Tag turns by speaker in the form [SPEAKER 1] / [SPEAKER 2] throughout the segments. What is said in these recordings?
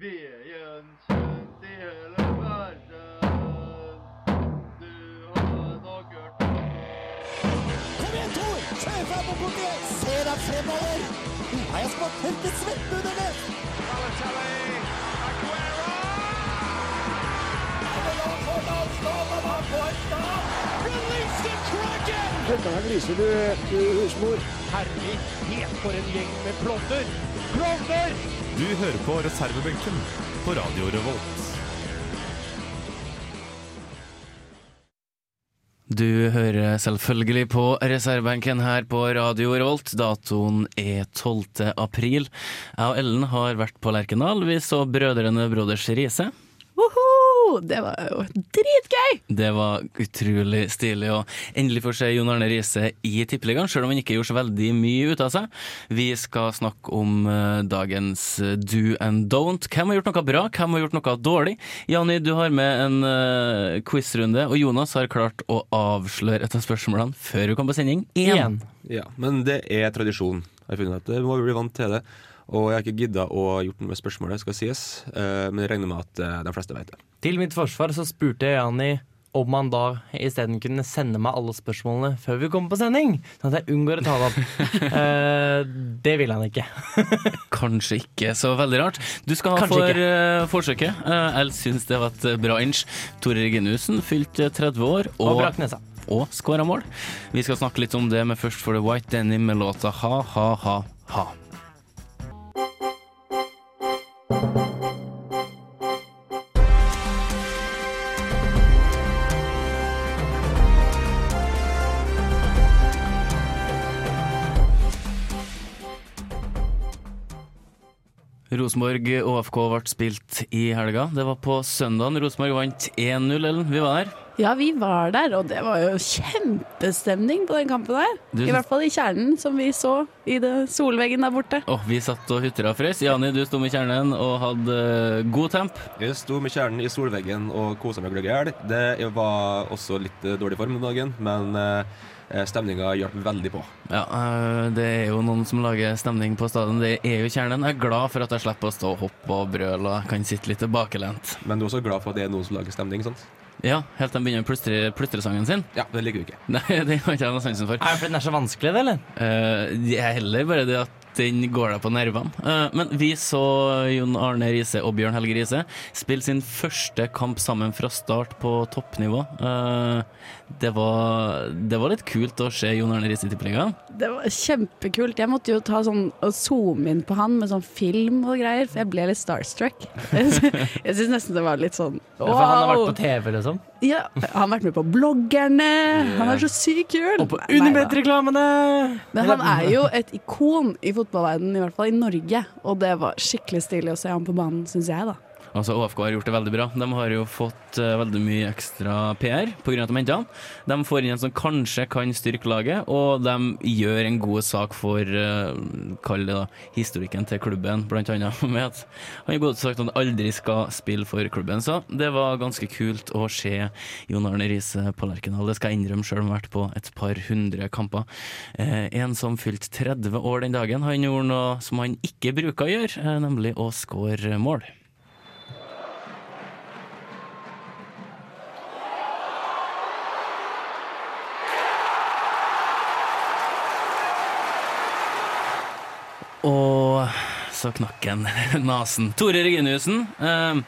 [SPEAKER 1] ved Jensen til hele verden. Du har nok hørt om
[SPEAKER 2] Kom igjen, Tor! Kjør fram og bort igjen! Se deg fremover! Nå har jeg smakt tørke svette under det!
[SPEAKER 3] Du hører på reservebenken på Radio Revolt.
[SPEAKER 4] Du hører selvfølgelig på reservebenken her på Radio Revolt. Datoen er 12. april. Jeg og Ellen har vært på Lerkendal. Vi så Brødrene Broders Riise.
[SPEAKER 5] Woho! Det var jo dritgøy!
[SPEAKER 4] Det var utrolig stilig å endelig få se Jon Arne Riise i Tippeligaen, sjøl om han ikke gjorde så veldig mye ut av seg. Vi skal snakke om eh, dagens do and don't. Hvem har gjort noe bra, hvem har gjort noe dårlig? Janni, du har med en eh, quizrunde, og Jonas har klart å avsløre et av spørsmålene før du kom på sending. Én.
[SPEAKER 6] Ja, men det er tradisjon. Jeg har funnet at det må vi bli vant til det. Og jeg har ikke gidda å gjort noe med spørsmålet, skal sies. Eh, Men jeg regner med at eh, de fleste vet det.
[SPEAKER 7] Til mitt forsvar så spurte jeg Jani om han da isteden kunne sende meg alle spørsmålene før vi kom på sending. Sånn at jeg unngår å ta det opp. Eh, det ville han ikke.
[SPEAKER 4] Kanskje ikke så veldig rart. Du skal ha
[SPEAKER 7] Kanskje
[SPEAKER 4] for
[SPEAKER 7] ikke.
[SPEAKER 4] eh, forsøket. Eh, jeg syns det var et bra inch. Tore Reginussen fylte 30 år
[SPEAKER 7] Og
[SPEAKER 4] og,
[SPEAKER 7] brakk nesa.
[SPEAKER 4] og skåra mål. Vi skal snakke litt om det, men først får du White Denim med låta Ha, ha, ha, ha. Rosenborg OFK ble spilt i helga. Det var på søndagen. Rosenborg vant 1-0, Ellen. Vi var der.
[SPEAKER 5] Ja, vi var der, og det var jo kjempestemning på den kampen der.
[SPEAKER 4] Du
[SPEAKER 5] I
[SPEAKER 4] syns-
[SPEAKER 5] hvert fall i kjernen, som vi så i det solveggen der borte.
[SPEAKER 4] Åh, vi satt og hutra og frøs. Jani, du sto med kjernen og hadde eh, god temp.
[SPEAKER 6] Jeg sto med kjernen i solveggen og kosa meg gløgg i hjel. Det var også litt eh, dårlig form om dagen, men eh, stemninga hjalp veldig på.
[SPEAKER 4] Ja, øh, det er jo noen som lager stemning på stadion. Det er jo kjernen. Jeg er glad for at jeg slipper å stå og hoppe og brøle og jeg kan sitte litt tilbakelent.
[SPEAKER 6] Men du er også glad for at det er noen som lager stemning, sant?
[SPEAKER 4] Ja, helt til de begynner å plystre- plystresangen sin.
[SPEAKER 6] Ja, det liker vi ikke.
[SPEAKER 4] Nei, det har ikke jeg noe sansen for.
[SPEAKER 7] Er det fordi den er så vanskelig, det, eller?
[SPEAKER 4] Eh, Det er heller bare det at den går deg på nervene. Eh, Men vi så Jon Arne Riise og Bjørn Helge Riise spille sin første kamp sammen fra start på toppnivå. Eh, Det var, det var litt kult å se Jon Arne Riise i Tippeligaen.
[SPEAKER 5] Det var kjempekult. Jeg måtte jo ta sånn og zoome inn på han med sånn film og greier, for jeg ble litt starstruck. Jeg syns nesten det var litt sånn
[SPEAKER 7] For han har vært
[SPEAKER 5] wow.
[SPEAKER 7] på TV, liksom.
[SPEAKER 5] Ja, han har vært med på Bloggerne. Han er så sykt kul.
[SPEAKER 7] Og på
[SPEAKER 5] Nei da.
[SPEAKER 7] Unibet-reklamene!
[SPEAKER 5] Men han er jo et ikon i fotballverdenen, i hvert fall i Norge. Og det var skikkelig stilig å se ham på banen, syns jeg, da.
[SPEAKER 4] Altså, ÅFK har gjort det veldig bra. De har jo fått eh, veldig mye ekstra PR pga. at de henter han. De får inn en som kanskje kan styrke laget, og de gjør en god sak for eh, kall det da, historikken til klubben, blant annet med at han har godt sagt at han aldri skal spille for klubben. Så det var ganske kult å se Jon Arne Riise på Lerkendal. Det skal jeg innrømme sjøl om jeg har vært på et par hundre kamper. Eh, en som fylte 30 år den dagen, han gjorde noe som han ikke bruker å gjøre, eh, nemlig å score mål. Og så knakk han nasen. Tore Reginussen, eh,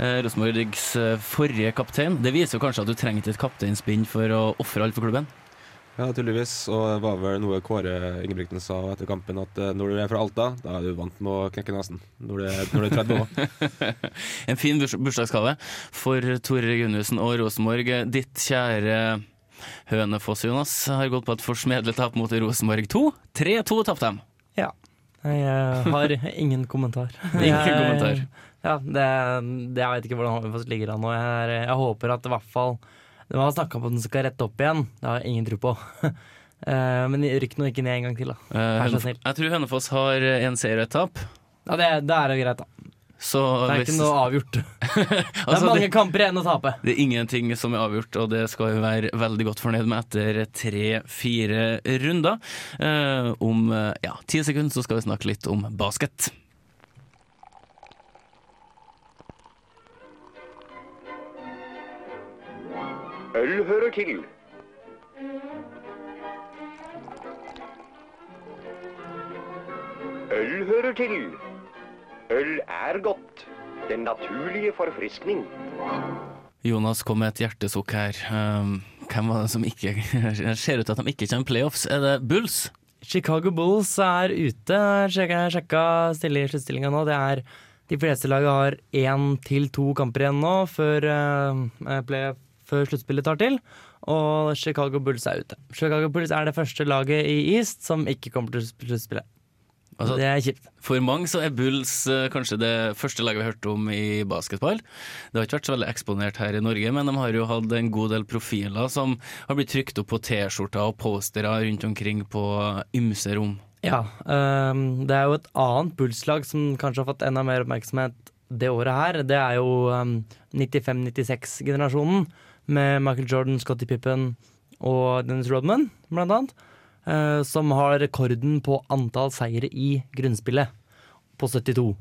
[SPEAKER 4] eh, Rosenborgs eh, forrige kaptein. Det viser jo kanskje at du trengte et kapteinsbind for å ofre alt for klubben.
[SPEAKER 6] Ja, tydeligvis. Og det var vel noe Kåre Ingebrigtsen sa etter kampen, at eh, når du er fra Alta, da er du vant med å knekke nesen. Når du er, når du er 30 år.
[SPEAKER 4] En fin burs bursdagsgave for Tore Reginussen og Rosenborg. Ditt kjære Hønefoss, Jonas, har gått på et forsmedlet tap mot Rosenborg 2. 3-2 tapte de.
[SPEAKER 7] Ja. Jeg har ingen kommentar.
[SPEAKER 4] Ingen kommentar.
[SPEAKER 7] Ja, det, det, jeg vet ikke hvordan Hønefoss ligger an nå. Jeg, er- jeg håper at i hvert fall Man har snakka om at den skal rette opp igjen. Det har jeg ingen tro på. Eh, Men rykk nå ikke ned en gang til, da.
[SPEAKER 4] Eh,
[SPEAKER 7] Vær så
[SPEAKER 4] Hønef-
[SPEAKER 7] snill.
[SPEAKER 4] Jeg tror Hønefoss har en seier og et tap.
[SPEAKER 7] Ja, det, det er jo greit, da.
[SPEAKER 4] Så
[SPEAKER 7] Det er
[SPEAKER 4] hvis-
[SPEAKER 7] ikke noe avgjort. Det
[SPEAKER 4] altså,
[SPEAKER 7] er mange kamper igjen å tape.
[SPEAKER 4] Det er ingenting som er avgjort, og det skal vi være veldig godt fornøyd med etter tre-fire runder. Eh, om eh, ja, ti sekunder så skal vi snakke litt om basket.
[SPEAKER 8] Øl hører til. Øl hører til. Øl er godt. Den naturlige forfriskning.
[SPEAKER 4] Jonas kom med et hjertesukk her. Um, hvem var det som ikke Det ser ut til at de ikke kommer playoffs? Er det Bulls?
[SPEAKER 7] Chicago Bulls er ute. Sjekka, jeg sjekka stille i sluttstillinga nå. Det er, de fleste lag har én til to kamper igjen nå før, eh, play- før sluttspillet tar til. Og Chicago Bulls er ute. Chicago Bulls er det første laget i East som ikke kommer til sluttspillet.
[SPEAKER 4] Altså-
[SPEAKER 7] det er kjipt.
[SPEAKER 4] For mange så er Bulls eh, kanskje det første laget vi har hørt om i basketball. Det har ikke vært så veldig eksponert her i Norge, men de har jo hatt en god del profiler som har blitt trykt opp på T-skjorter og postere rundt omkring på ymse rom.
[SPEAKER 7] Ja, ehm, det er jo et annet pulslag som kanskje har fått enda mer oppmerksomhet det året her. Det er jo ehm, 95-96-generasjonen med Michael Jordan, Scottie Pippen og Dennis Rodman, blant annet. eh, som har rekorden på antall seire i grunnspillet, på 72.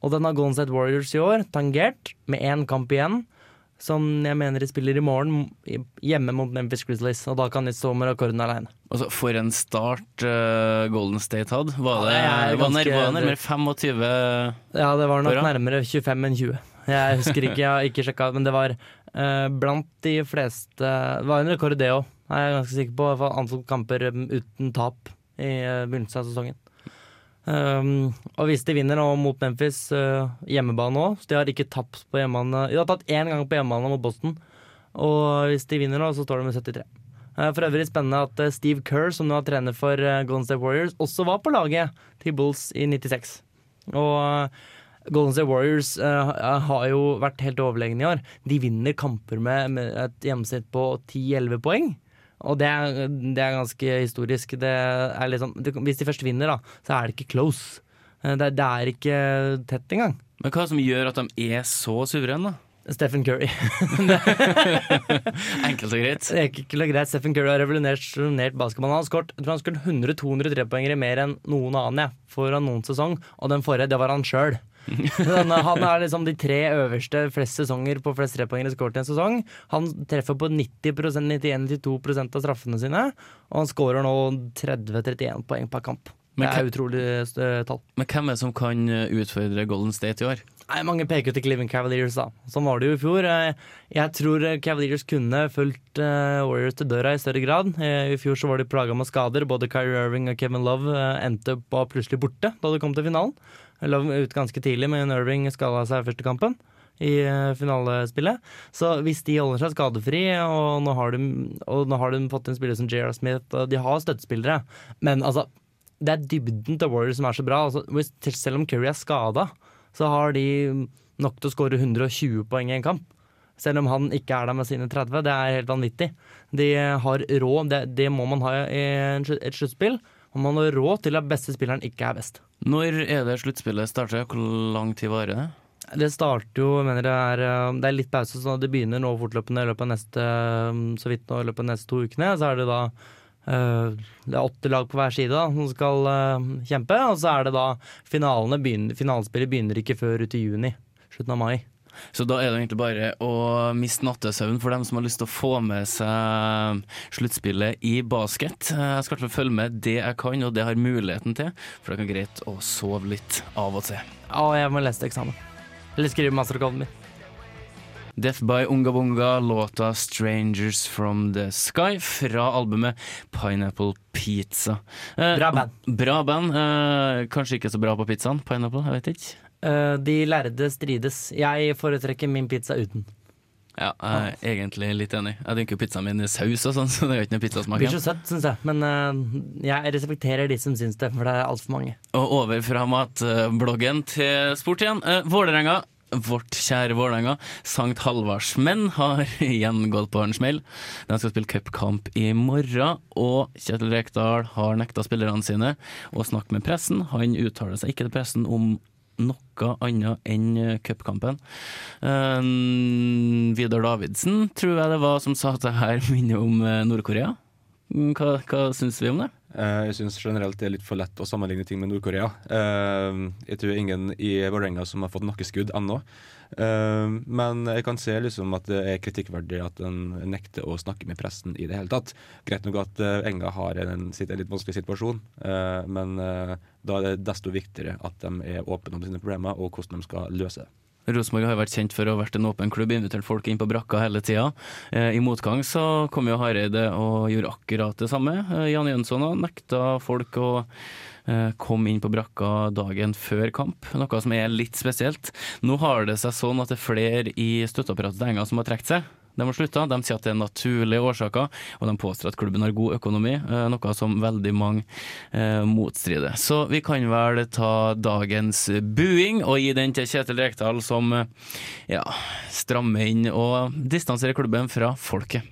[SPEAKER 7] Og den har Golden State Warriors i år tangert med én kamp igjen. Som jeg mener de spiller i morgen, i- hjemme mot Memphis Grizzlies. Og da kan de stå med rekorden aleine.
[SPEAKER 4] Altså, for en start eh, Golden State hadde. Var det,
[SPEAKER 7] Ja, det er
[SPEAKER 4] var
[SPEAKER 7] ganske-
[SPEAKER 4] nær- var det nærmere 25
[SPEAKER 7] Ja, det var nok
[SPEAKER 4] Hvor da?
[SPEAKER 7] nærmere 25 enn 20. Jeg husker ikke, jeg har ikke sjekka, men det var eh, blant de fleste Det var en rekord, det òg. Jeg er ganske sikker på i hvert fall antall kamper eh, uten tap i eh, begynnelsen av sesongen. Um, og hvis de vinner nå mot Memphis, eh, hjemmebane òg Så de har ikke tapt på hjemmebane De har tatt én gang på hjemmebane mot Boston, og hvis de vinner nå, så står de med 73. Eh, For øvrig spennende at eh, Steve Kerr, som nå er trener for eh, Golden State Warriors, også var på laget til Bulls i 96. Og eh, Golden State Warriors eh, har jo vært helt overlegne i år. De vinner kamper med, med et gjennomsnitt på 10-11 poeng. Og det er, det er ganske historisk. Det er liksom, det, hvis de først vinner, da, så er det ikke close. Eh, Det, det er ikke tett engang.
[SPEAKER 4] Men hva som gjør at de er så suverene, da?
[SPEAKER 7] Stephen Curry.
[SPEAKER 4] Enkelt og greit.
[SPEAKER 7] Det er ikke ikke noe greit. Stephen Curry har revolusjonert revolusjonert basketballen. Han har skåret jeg tror han skåret 100-200 trepoengere mer enn noen annen jeg, foran noen sesong, og den forrige, det var han sjøl. Han er liksom de tre øverste flest sesonger på flest trepoengere skåret i en sesong. Han treffer på 90 91-92 av straffene sine, og han skårer nå 30-31 poeng per kamp.
[SPEAKER 4] Men
[SPEAKER 7] Det er utrolig eh, tall.
[SPEAKER 4] Men hvem er det som kan eh, utfordre Golden State i år?
[SPEAKER 7] Nei, Mange peker til Cleveland Cavaliers, da. Sånn var det jo i fjor. Eh, Jeg tror eh, Cavaliers kunne fulgt eh, Warriors til døra i større grad. Eh, I fjor så var de plaga med skader. Både Kyrie Irving og Kevin Love eh, endte opp var plutselig borte da de kom til finalen. Love ut ganske tidlig, men Irving skada seg i første kampen i eh, finalespillet. Så hvis de holder seg skadefri, og nå har de, og nå har de fått inn spillere som J.R. Smith, og de har støttespillere, men altså det er dybden til Warriors som er så bra. Altså, hvis, selv om Curry er skada, så har de nok til å skåre 120 poeng i en kamp. Selv om han ikke er der med sine 30. Det er helt vanvittig. De har råd, det, det må man ha i en slu- et sluttspill. Og man har råd til at beste spilleren ikke er best.
[SPEAKER 4] Når er det sluttspillet starter? Hvor lang tid varer det?
[SPEAKER 7] Det starter jo, jeg mener det er, eh, det er litt pause, så det begynner nå fortløpende i løpet av neste, eh, så vidt nå i løpet av neste to ukene. Så er det da eh, det er åtte lag på hver side da, som skal eh, kjempe, og så er det da finalene begynner, finalespillet begynner ikke før ut i juni, slutten av mai.
[SPEAKER 4] Så da er det egentlig bare å miste nattesøvn for dem som har lyst til å få med seg sluttspillet i basket. Eh, Jeg skal i hvert fall følge med det jeg kan, og det jeg har muligheten til, for det kan greit å sove litt av og til.
[SPEAKER 7] Ja, og jeg må lese til eksamen. Eller skrive masteroppgaven min.
[SPEAKER 4] Death by Unga Bunga, låta 'Strangers From The Sky' fra albumet Pineapple Pizza. Eh,
[SPEAKER 7] Bra band.
[SPEAKER 4] Bra band. Eh, kanskje ikke så bra på pizzaen. Pineapple, jeg vet ikke.
[SPEAKER 7] Eh, de lærde strides. Jeg foretrekker min pizza uten.
[SPEAKER 4] Ja, jeg er egentlig litt enig. Jeg dynker jo pizzaen min i saus og sånn, så det er jo ikke noe pizzasmak.
[SPEAKER 7] Det blir
[SPEAKER 4] igjen.
[SPEAKER 7] så søtt, syns jeg, men eh, jeg respekterer de som syns det, for det er altfor mange.
[SPEAKER 4] Og over fra matbloggen til sport igjen. Eh, Vålerenga, vårt kjære Vålerenga, Sankt Halvardsmenn har igjen gått på en smell. De skal spille cupkamp i morgen, og Kjetil Rekdal har nekta spillerne sine å snakke med pressen. Han uttaler seg ikke til pressen om noe annet enn eh, cupkampen. Eh, Vidar Davidsen tror jeg det var som sa at det her minner om eh, Nord-Korea. Mm, Hva, hva syns vi om det?
[SPEAKER 9] Eh, Jeg syns generelt det er litt for lett å sammenligne ting med Nord-Korea. Eh, Jeg tror ingen i Vålerenga som har fått nakkeskudd ennå. Eh, Men jeg kan se liksom at det er kritikkverdig at en nekter å snakke med pressen i det hele tatt. Greit nok at eh, Enga har en, sitt- en litt vanskelig situasjon, eh, men eh, da er det desto viktigere at de er åpne om sine problemer og hvordan de skal løse det.
[SPEAKER 4] Rosenborg har jo vært kjent for å ha vært en åpen klubb, invitert folk inn på brakka hele tida. Eh, I motgang så kom jo Hareide og gjorde akkurat det samme. Eh, Jan Jønsson har nekta folk å eh, komme inn på brakka dagen før kamp, noe som er litt spesielt. Nå har det seg sånn at det er flere i støtteapparatet til Enga som har trukket seg. De har slutta, de sier at det er naturlige årsaker, og de påstår at klubben har god økonomi, eh, noe som veldig mange eh, motstrider. Så vi kan vel ta dagens buing og gi den til Kjetil Rekdal, som eh, ja, strammer inn og distanserer klubben fra folket.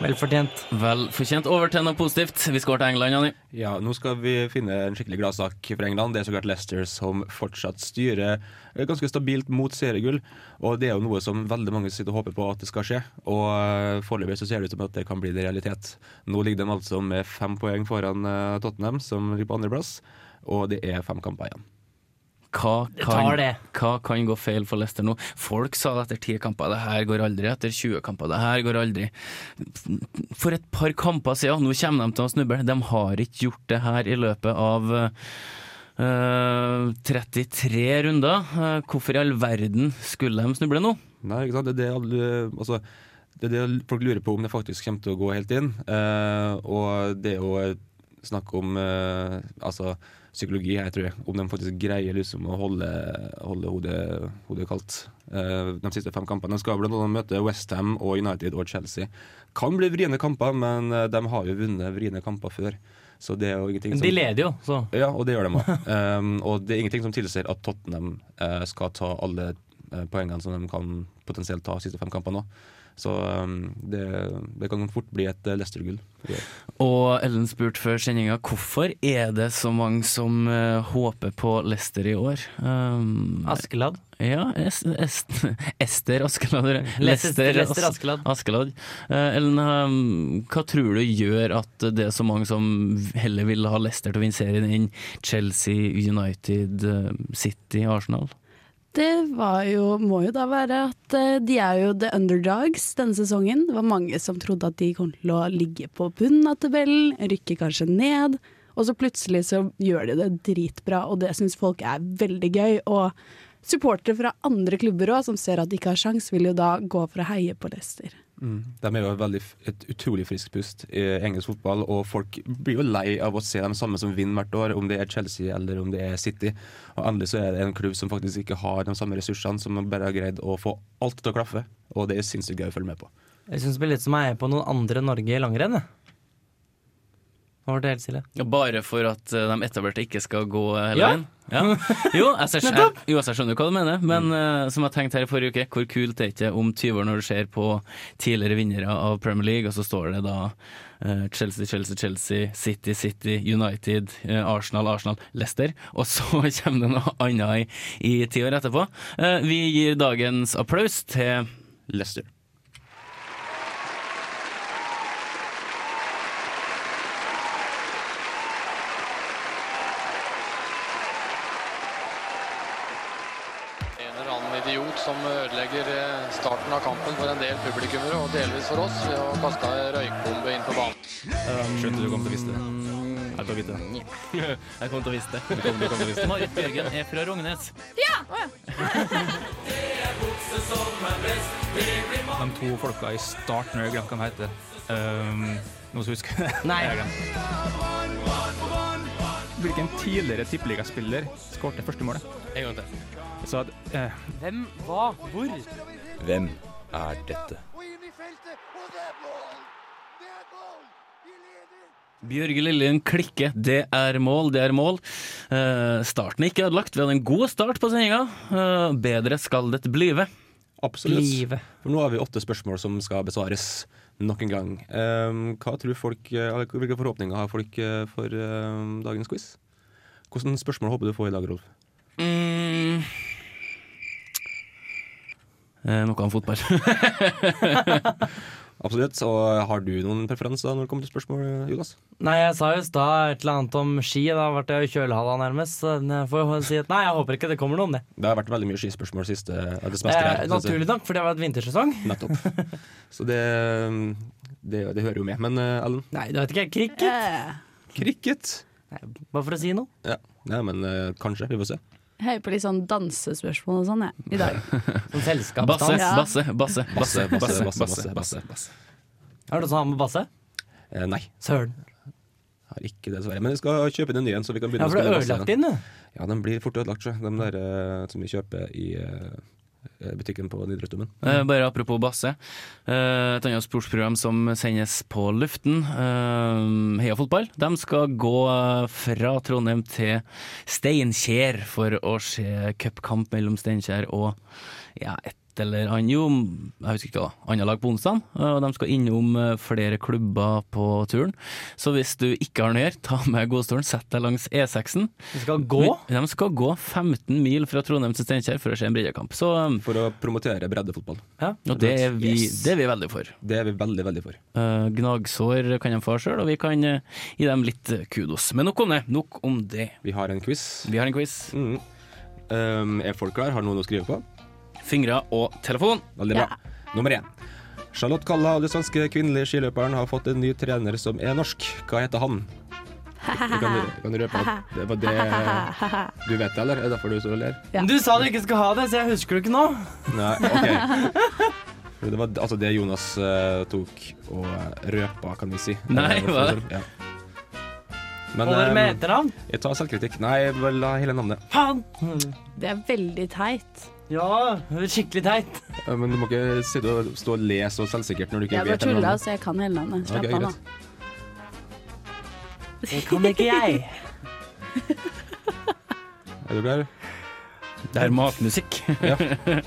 [SPEAKER 7] Velfortjent.
[SPEAKER 4] Vel fortjent. Over til noe positivt. Vi skal over til England, Janni.
[SPEAKER 9] Ja, nå skal vi finne en skikkelig gladsak for England. Det er så klart Leicester som fortsatt styrer ganske stabilt mot seriegull. Og det er jo noe som veldig mange sitter og håper på at det skal skje. Og eh, foreløpig så ser det ut som at det kan bli det realitet. Nå ligger de altså med fem poeng foran eh, Tottenham, som ligger på andreplass. Og det er fem kamper igjen.
[SPEAKER 4] Hva
[SPEAKER 7] tar
[SPEAKER 4] kan,
[SPEAKER 7] det.
[SPEAKER 4] hva kan gå feil for Leicester nå? Folk sa det etter ti kamper, det her går aldri. Etter 20 kamper, det her går aldri. For et par kamper siden, nå kommer de til å snuble. De har ikke gjort det her i løpet av eh, 33 runder. Eh, hvorfor i all verden skulle de snuble nå?
[SPEAKER 9] Nei, ikke sant? Det er det, alle, altså, det, er det folk lurer på om det faktisk kommer til å gå helt inn. Eh, og det er jo snakk om eh, altså, psykologi her, tror jeg. Om de faktisk greier liksom, å holde, holde hodet, hodet kaldt eh, de siste fem kampene. De skal blant annet møte Westham og United og Chelsea. Kan bli vriene kamper, men eh, de har jo vunnet vriene kamper før. Så det er jo ingenting
[SPEAKER 7] Men de leder jo, så.
[SPEAKER 9] ja, og det gjør de òg. Um, og det er ingenting som tilsier at Tottenham eh, skal ta alle eh, poengene som de kan potensielt ta de siste fem kampene òg. Så um, det, det kan fort bli et eh, Leicester-gull.
[SPEAKER 4] Og Ellen spurte før sendinga hvorfor er det så mange som eh, håper på Leicester i år.
[SPEAKER 7] Altså,
[SPEAKER 4] Um,
[SPEAKER 7] Askeladd.
[SPEAKER 4] Ja, es, es, Ester Askeladd.
[SPEAKER 7] Leicester-
[SPEAKER 4] Lester
[SPEAKER 7] Leicester
[SPEAKER 4] As-
[SPEAKER 7] Askeladd.
[SPEAKER 4] Askeladd. Eh, Ellen, eh, hva tror du gjør at det er så mange som heller vil ha Leicester til å vinne serien enn Chelsea, United, eh, City, Arsenal?
[SPEAKER 5] Det var jo, må jo da være at eh, de er jo the underdogs denne sesongen. Det var mange som trodde at de kom til å ligge på bunnen av tabellen, rykke kanskje ned. Og så plutselig så gjør de det dritbra, og det syns folk er veldig gøy. Og supportere fra andre klubber òg, som ser at de ikke har sjans, vil jo da gå for å heie på Leicester.
[SPEAKER 9] De er jo et veldig, f- et utrolig friskt pust i engelsk fotball, og folk blir jo lei av å se de samme som vinner hvert år, om det er Chelsea eller om det er City. Og endelig så er det en klubb som faktisk ikke har de samme ressursene, som bare har greid å få alt til å klaffe. Og det er sinnssykt gøy å følge med på.
[SPEAKER 7] Jeg syns det blir litt som å heie på noen andre enn Norge i langrenn. jeg. Nå ble det helt stille.
[SPEAKER 4] Bare for at eh, de etablerte ikke skal gå eh, hele
[SPEAKER 7] Ja.
[SPEAKER 4] veien? Ja. Jo, jeg, ser, jeg, jo, jeg skjønner hva du mener, men eh, som jeg tenkte her i forrige uke, hvor kult er det ikke om 20 år når du ser på tidligere vinnere av Premier League, og så står det da eh, Chelsea, Chelsea, Chelsea, City, City, United, eh, Arsenal, Arsenal, Leicester, og så kommer det noe annet i, i ti år etterpå. Eh, vi gir dagens applaus til
[SPEAKER 9] Leicester.
[SPEAKER 10] En eller annen idiot som ødelegger eh, starten av kampen for en del publikummere, og delvis for oss, ved å kaste ei røykbombe inn på banen.
[SPEAKER 9] Skjønte du kom til å vise det. Jeg tar vite det.
[SPEAKER 4] Jeg kommer til å vise det. Marit Bjørgen er fra Rognes.
[SPEAKER 6] De to folka i starten, jeg glemte hva de heter. Ehm, Noen som husker det?
[SPEAKER 7] Nei.
[SPEAKER 6] Jeg har glemt. Hvilken tidligere tippeligaspiller skåret det første målet?
[SPEAKER 4] En gang til.
[SPEAKER 6] Så at, eh,
[SPEAKER 7] Hvem, hva, hvor?
[SPEAKER 11] Hvem er dette?
[SPEAKER 4] Bjørge Lillien klikker. Det er mål, det er mål. Eh, starten er ikke ødelagt. Vi hadde en god start på sendinga. Eh, bedre skal det blive.
[SPEAKER 9] Absolutt.
[SPEAKER 7] Livet.
[SPEAKER 9] For nå har vi åtte spørsmål som skal besvares nok en gang. Ehm, hva tror folk, eh, eller Hvilke forhåpninger har folk eh, for eh, dagens quiz? Hvilke spørsmål håper du får i dag, Rolf?
[SPEAKER 4] Mm, Eh, noe om fotball.
[SPEAKER 6] Absolutt. Og har du noen preferanser når det kommer til spørsmål, Jonas?
[SPEAKER 7] Nei, jeg sa jo i stad et eller annet om ski. Da ble jeg jo kjølhalla nærmest. Så jeg får jo si at nei, jeg håper ikke det kommer noen, det.
[SPEAKER 6] Det har vært veldig mye skispørsmål siste eh, det semesteret.
[SPEAKER 7] Eh,
[SPEAKER 6] her, synes jeg.
[SPEAKER 7] naturlig nok, for det var et vintersesong.
[SPEAKER 6] Nettopp. Så det, ehm, det, det hører jo med. Men eh, Ellen?
[SPEAKER 7] Nei, du vet ikke. Cricket.
[SPEAKER 5] Eh,
[SPEAKER 6] Cricket.
[SPEAKER 7] Bare for å si noe.
[SPEAKER 6] Ja. Nei, men eh, kanskje. Vi får se.
[SPEAKER 5] Jeg heier på litt sånn dansespørsmål og sånn, jeg, i dag.
[SPEAKER 4] Basse,
[SPEAKER 7] Som selskapsdans.
[SPEAKER 5] Ja.
[SPEAKER 4] basse, basse, basse,
[SPEAKER 6] Basse, basse, basse,
[SPEAKER 4] basse,
[SPEAKER 6] basse,
[SPEAKER 4] basse,
[SPEAKER 7] Er det noen som har med basse?
[SPEAKER 6] Eh, nei,
[SPEAKER 7] Søren.
[SPEAKER 6] har ikke det, dessverre. Men jeg skal kjøpe den nye en, så vi kan begynne
[SPEAKER 7] Ja, for du har
[SPEAKER 6] basse
[SPEAKER 7] ødelagt
[SPEAKER 6] igjen.
[SPEAKER 7] inn, du.
[SPEAKER 6] Ja, den blir fort ødelagt, så. De der eh, som vi kjøper i eh, butikken på Nidarosdomen.
[SPEAKER 4] Eh, bare apropos basse. Eh, et annet sportsprogram som sendes på luften, eh, Heia fotball, de skal gå eh, fra Trondheim til Steinkjer for å se cupkamp mellom Steinkjer og ja, et eller annet jo, jeg husker ikke hva, annet lag på onsdag. Og de skal innom eh, flere klubber på turen. Så hvis du ikke har noe å gjøre, ta med godstolen, sett deg langs E6-en.
[SPEAKER 7] Du skal gå.
[SPEAKER 4] De skal gå 15 mil fra Trondheim til Steinkjer for å se en breddekamp. Så eh,
[SPEAKER 6] For å promotere breddefotball.
[SPEAKER 7] Ja.
[SPEAKER 4] og det er, vi, det er vi veldig for.
[SPEAKER 6] Det er vi veldig, veldig for.
[SPEAKER 4] Eh, gnagsår kan de få sjøl, og vi kan eh, gi dem litt eh, kudos. Men nok om det. Nok om det.
[SPEAKER 6] Vi har en quiz.
[SPEAKER 4] Vi har en quiz.
[SPEAKER 6] Mm. Um, er folk klar? Har noen å skrive på?
[SPEAKER 4] Fingre og telefon.
[SPEAKER 6] Veldig bra. Nummer én. Charlotte Kalla og den svenske kvinnelige skiløperen har fått en ny trener som er norsk. Hva heter han? Du kan, du kan røpe at det var det Du vet det, eller? Er det derfor du står og ler?
[SPEAKER 5] Ja.
[SPEAKER 7] Men Du sa du ikke skulle ha det, så jeg husker det ikke nå.
[SPEAKER 6] Nei, OK. Det var altså det Jonas eh, tok og eh, røpa, kan vi si.
[SPEAKER 4] Nei,
[SPEAKER 6] Eh,
[SPEAKER 4] hva er det?
[SPEAKER 6] Ja. Men
[SPEAKER 7] Holder med
[SPEAKER 6] eh,
[SPEAKER 7] etternavn.
[SPEAKER 6] jeg tar selvkritikk. Nei, jeg vil ha hele navnet.
[SPEAKER 7] Faen!
[SPEAKER 5] Det er veldig teit.
[SPEAKER 7] Ja, det er skikkelig teit.
[SPEAKER 6] Eh, Men du må ikke sitte og stå og le så selvsikkert når du ikke
[SPEAKER 5] Jeg bare altså.
[SPEAKER 6] vet hele
[SPEAKER 5] tulla,
[SPEAKER 6] navnet.
[SPEAKER 5] så jeg kan hele navnet.
[SPEAKER 6] Ok,
[SPEAKER 5] Slapp av,
[SPEAKER 6] greit.
[SPEAKER 5] nå.
[SPEAKER 7] Det kan ikke jeg.
[SPEAKER 6] Er du klar?
[SPEAKER 4] Det er matmusikk.